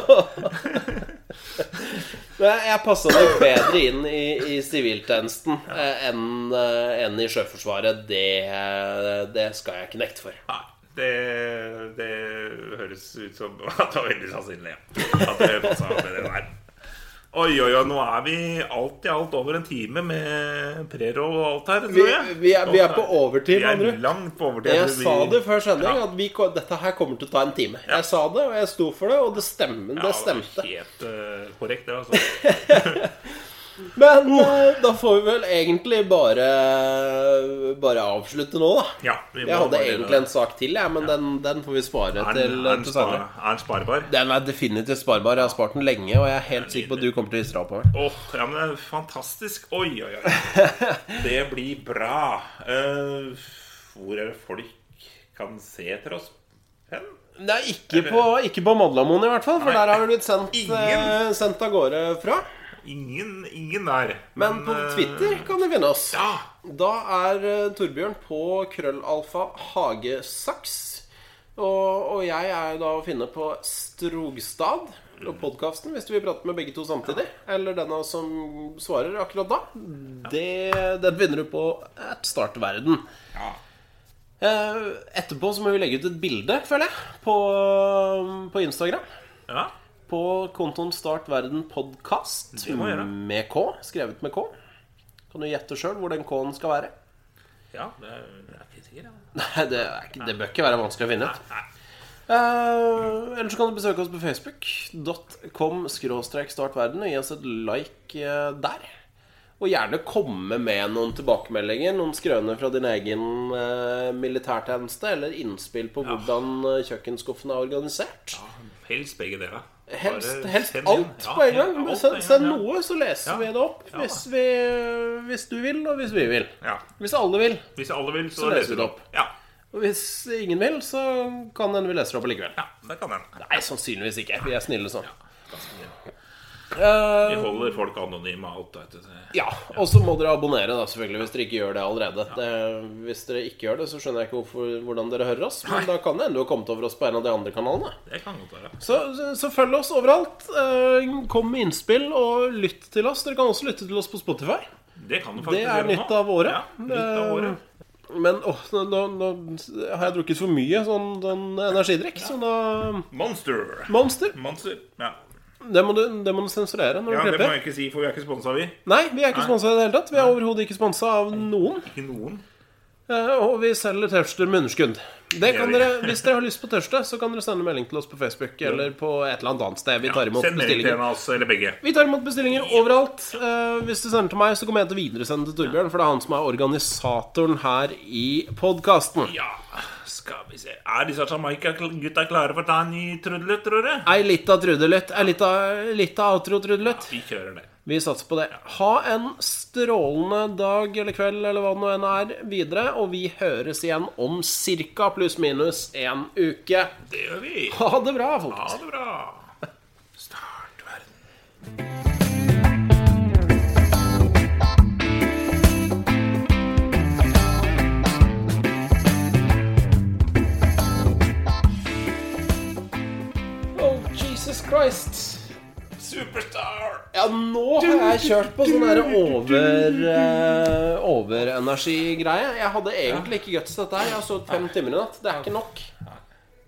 S2: Nei, Jeg passa nok bedre inn i, i siviltjenesten eh, enn eh, enn i Sjøforsvaret. Det, det skal jeg ikke nekte for.
S1: Nei, det, det høres ut som at det var veldig sannsynlig. ja. At det passa med det der. Oi, oi, oi, nå er vi alt i alt over en time med preroll og alt her. tror
S2: Vi,
S1: jeg.
S2: vi, er, vi er på
S1: Vi
S2: overtid, med andre
S1: er langt på overtid.
S2: Jeg sa det
S1: Vi-
S2: før sending, at vi, ko- dette her kommer til å ta en time. Jeg sa det, og jeg sto for det, og det, stemmer,
S1: Ja,
S2: det stemte.
S1: Helt eh, korrekt, det, altså.
S2: Men eh, da får vi vel egentlig bare, bare avslutte nå, da.
S1: Ja, vi må
S2: Jeg hadde
S1: bare-
S2: egentlig en sak til, jeg, men den, den får vi spare
S1: Er den-
S2: til,
S1: er den
S2: til
S1: spar-
S2: senere.
S1: Er den sparbar?
S2: Den er definitivt sparbar. Jeg har spart den lenge, og jeg er helt sikker på at du kommer til å istre av på meg.
S1: Åh, ja, men det er fantastisk. Oi, oi, oi. Det blir bra. Eh, hvor er det folk kan se etter oss? Hen?
S2: Nei, ikke på, ikke på Madlamoen i hvert fall, for
S1: Nei.
S2: der har vi blitt sendt,
S1: Ingen.
S2: eh, sendt av gårde fra.
S1: Ingen, ingen der.
S2: Men på
S1: eh,
S2: Twitter kan du finne oss.
S1: ja.
S2: Da er eh, Torbjørn på krøllalfa hagesaks. Og, og jeg er da å finne på Strogstad
S1: Mm.
S2: og podkasten, hvis du vil prate med begge to samtidig. Eller den av oss som svarer akkurat da. Det, den finner du på at startverden.
S1: ja.
S2: Eh, Etterpå så må vi legge ut et bilde, føler jeg, på, på Instagram.
S1: Ja.
S2: På kontoen Start Verden Podcast
S1: Det må jeg gjøre.
S2: med K, skrevet med K. Kan du gjette sjøl hvor den K-en skal være?
S1: Ja, det er, jeg er ikke sikker. jeg.
S2: Nei, det, er ikke, det bør ikke være vanskelig å finne ut.
S1: Nei.
S2: Uh, Eller så kan du besøke oss på facebook.com skråstrek startverden og gi oss et like eh, der. Og gjerne komme med noen tilbakemeldinger, noen skrøner fra din egen eh, militærtjeneste, eller innspill på hvordan eh, kjøkkenskuffen er organisert.
S1: Helst begge deler. Bare
S2: Helst, helst
S1: send inn.
S2: alt
S1: Ja,
S2: på en
S1: helt
S2: gang.
S1: alt
S2: Men
S1: på en
S2: Send, send
S1: gang, ja.
S2: noe, så leser
S1: Ja.
S2: vi det opp
S1: Ja.
S2: hvis, vi, hvis du vil, og hvis vi vil.
S1: Ja.
S2: Hvis alle vil.
S1: Hvis alle vil, så,
S2: Så leser vi det opp.
S1: Ja.
S2: Og hvis ingen vil, så kan hende vi leser det opp allikevel.
S1: ja, det kan hende.
S2: Nei, sannsynligvis ikke. Vi er snille sånn.
S1: Vi
S2: Eh,
S1: holder folk anonyme og alt, vet du.
S2: ja, Og så må dere abonnere, da, selvfølgelig, hvis dere ikke gjør det allerede. Det, hvis dere ikke gjør det, så skjønner jeg ikke hvorfor, hvordan dere hører oss. Men da kan det hende du har kommet over oss på en av de andre kanalene.
S1: Det kan godt være.
S2: Så, så, så følg oss overalt. Eh, kom med innspill, og lytt til oss. Dere kan også lytte til oss på Spotify.
S1: Det kan du faktisk
S2: Det er
S1: gjøre nå.
S2: nytt av året.
S1: Ja, nytt av året.
S2: Eh, Men åh, nå, nå, nå har jeg drukket for mye sånn, sånn energidrikk, så da
S1: Monster.
S2: Monster.
S1: Monster. Ja.
S2: Det må du, det må du sensurere når du
S1: Ja, det må
S2: klipper.
S1: jeg ikke si, for vi er ikke sponsa, vi.
S2: Nei, vi er ikke sponsa i det hele tatt. Vi er overhodet ikke sponsa av noen.
S1: Ikke noen.
S2: Eh, Og vi selger T-skjorter med underskudd. Det kan
S1: gjør vi.
S2: dere, hvis dere har lyst på T-skjorte, så kan dere sende melding til oss på Facebook eller på et eller annet annet sted. Vi tar imot
S1: Send melding til en
S2: bestillinger.
S1: av oss, eller begge.
S2: Vi tar imot bestillinger overalt. Eh, Hvis du sender til meg, så kommer jeg til å videresende til Torbjørn, for det er han som er organisatoren her i podkasten.
S1: Ja, skal vi se Er disse Jamaica-gutta klare for å ta en ny trudelutt, tror du?
S2: Ei lita trudelutt. Ei lita, lita outro trudelutt.
S1: Vi kjører det.
S2: Vi satser på det. Ha en strålende dag eller kveld eller hva det nå enn er videre, og vi høres igjen om ca. pluss-minus en uke.
S1: Det gjør vi.
S2: Ha det bra, folkens.
S1: Ha det bra. Start verden.
S2: Oh, Jesus Christ.
S1: Oh, Superstar.
S2: Ja, Ja, nå har jeg kjørt på sånn der over eh, overenergigreie. Jeg hadde egentlig ikke guts til dette her. Jeg har sovet fem timer i natt. Det er ikke nok.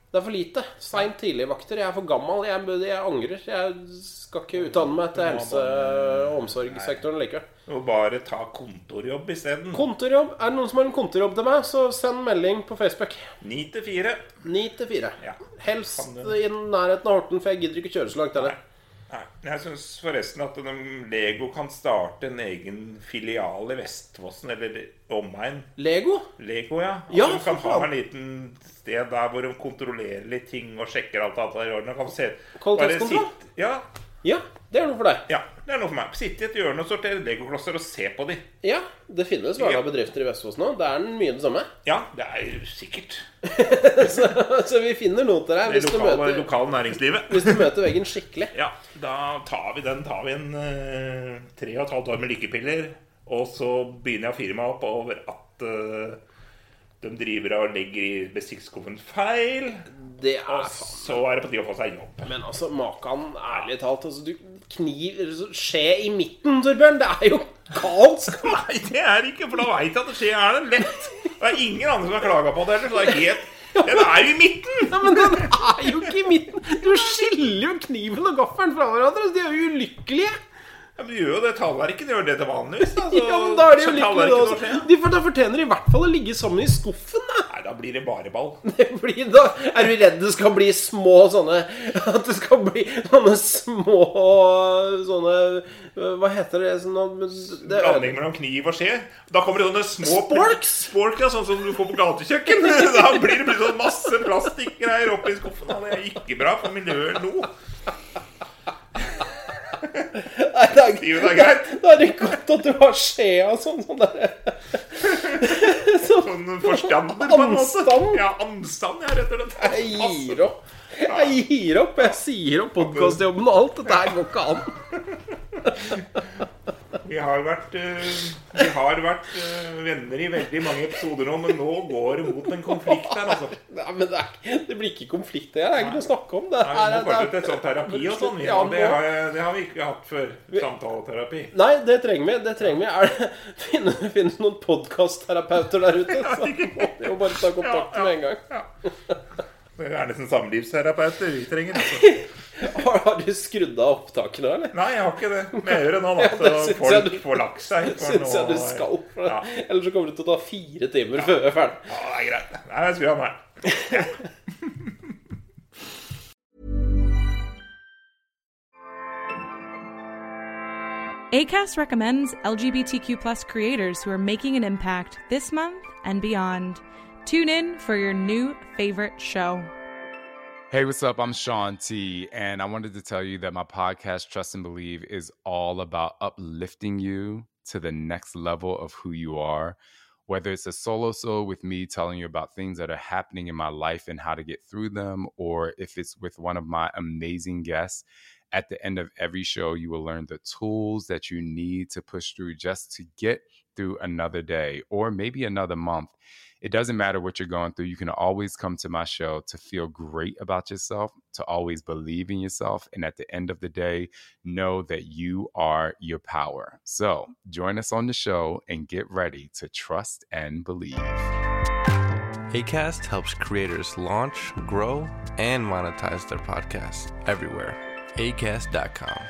S2: Det er for lite. Seint tidligvakter. Jeg er for gammel. Jeg, bør- jeg angrer. Jeg skal ikke utdanne meg til helse- og omsorgssektoren likevel.
S1: Og bare ta kontorjobb isteden.
S2: Kontorjobb. Er det noen som har en kontorjobb til meg, så send melding på Facebook.
S1: Ni til fire.
S2: Ni til fire.
S1: Ja.
S2: Helst
S1: Kan
S2: i nærheten av Horten, for jeg gidder ikke kjøre så langt heller.
S1: Nei, Jeg syns forresten at de Lego kan starte en egen filial i Vestfossen, eller omegn.
S2: Lego?
S1: Lego, ja. At
S2: Ja,
S1: du kan
S2: for
S1: ha
S2: faen.
S1: en liten sted der hvor de kontrollerer litt ting og sjekker alt annet i orden. Og kan se,
S2: Kvalitetskontroll?
S1: bare sitte- Ja,
S2: Ja, det er noe for deg.
S1: ja, det er noe for meg. Sitte i et hjørne og sortere legoklosser og se på de.
S2: Ja, det finnes
S1: Ja.
S2: hverdagssbedrifter i Vestfoss nå. Det er mye det samme.
S1: Ja, det er jo sikkert.
S2: Så, så vi finner noe til
S1: Det
S2: deg hvis du
S1: lokale,
S2: møter,
S1: lokale næringslivet.
S2: hvis du møter veggen skikkelig.
S1: Ja, da tar vi den. Tar vi en eh, tre og et halvt år med lykkepiller, og så begynner jeg å fire meg opp over at eh, de driver og legger i bestikkskuffen feil.
S2: Det er
S1: Og
S2: faen.
S1: så er det på tide å få seg jobb.
S2: Men altså, makan, ærlig talt altså, Du kniv altså, Skje i midten, Torbjørn! Det er jo kaos!
S1: Nei, det er det ikke, for da veit jeg at det skjer er det lett. Det er ingen andre som har klaga på det heller, så det er helt Den er jo i midten!
S2: Ja, men den er jo ikke i midten! Du skiller jo kniven og gaffelen fra hverandre! Så de er jo ulykkelige!
S1: Ja, men du gjør jo det tallerkenen gjør det til vanligvis. Da, så,
S2: Ja, men Da er de
S1: Altså, så
S2: jo
S1: tallerkenen
S2: ulykkelige da altså.
S1: må
S2: også.
S1: skje.
S2: De for- da fortjener de i hvert fall å ligge sammen i skuffen, da!
S1: Nei, da blir det bare ball.
S2: Det blir, da er du redd det skal bli små sånne At det skal bli sånne små Sånne øh, Hva heter det? Sånne, det
S1: Blanding mellom kniv og skje. Da kommer det sånne små
S2: Sporks!
S1: Spork, ja, sånn som du får på gatekjøkken. Da blir det plutselig sånn masse plastikkgreier oppi skuffen. Da. Det er ikke bra for miljøet eller noe.
S2: Nei, det er,
S1: Kniven er greit.
S2: da er det godt at du har skjea sånn. sånn der.
S1: Sånn forstander, på en måte.
S2: Anstand?
S1: Ja, anstand, ja, rett og slett.
S2: Jeg gir opp. Jeg gir opp. Jeg sier opp podkastjobben og alt. Dette her går ikke an.
S1: Vi har vært, eh, vi har vært eh, venner i veldig mange episoder nå, men nå går det mot en konflikt her, altså. Nei,
S2: Nei, men det, er, det blir ikke konflikt. Det er ikke noe å snakke om. Det
S1: Vi
S2: her
S1: må
S2: er,
S1: fortsette et
S2: det er,
S1: sånt terapi og sånn. Ja,
S2: Ja,
S1: det, har, jeg- det har vi ikke hatt før. Samtaleterapi.
S2: nei, det trenger vi. det trenger vi Er det- Finnes finnes noen podkastterapeuter der ute? Så må vi jo bare ta kontakt med en gang.
S1: Det er nesten samlivsterapeuter vi trenger. Altså.
S2: Har, har du skrudd av opptakene, eller?
S1: Nei, jeg har ikke det. Men jeg hører nå
S2: Ja,
S1: at
S2: det synes jeg
S1: folk
S2: du-
S1: får lagt seg. for
S2: Syns
S1: nå-
S2: jeg du skal. For
S1: Ja.
S2: Ellers så kommer det til å ta fire timer før vi er ferdig.
S1: Ja, det er greit. Nei, jeg skrur av meg.
S4: ACAST recommends LGBTQ plus creators who are making an impact this month and beyond. Tune in for your new favorite show.
S5: Hey, what's up? I'm Sean T, and I wanted to tell you that my podcast, Trust and Believe, is all about uplifting you to the next level of who you are. Whether it's a solo soul with me telling you about things that are happening in my life and how to get through them, or if it's with one of my amazing guests, at the end of every show, you will learn the tools that you need to push through just to get through another day or maybe another month. It doesn't matter what you're going through. You can always come to my show to feel great about yourself, to always believe in yourself. And at the end of the day, know that you are your power. So join us on the show and get ready to trust and believe.
S6: ACAST helps creators launch, grow, and monetize their podcasts everywhere. ACAST.com.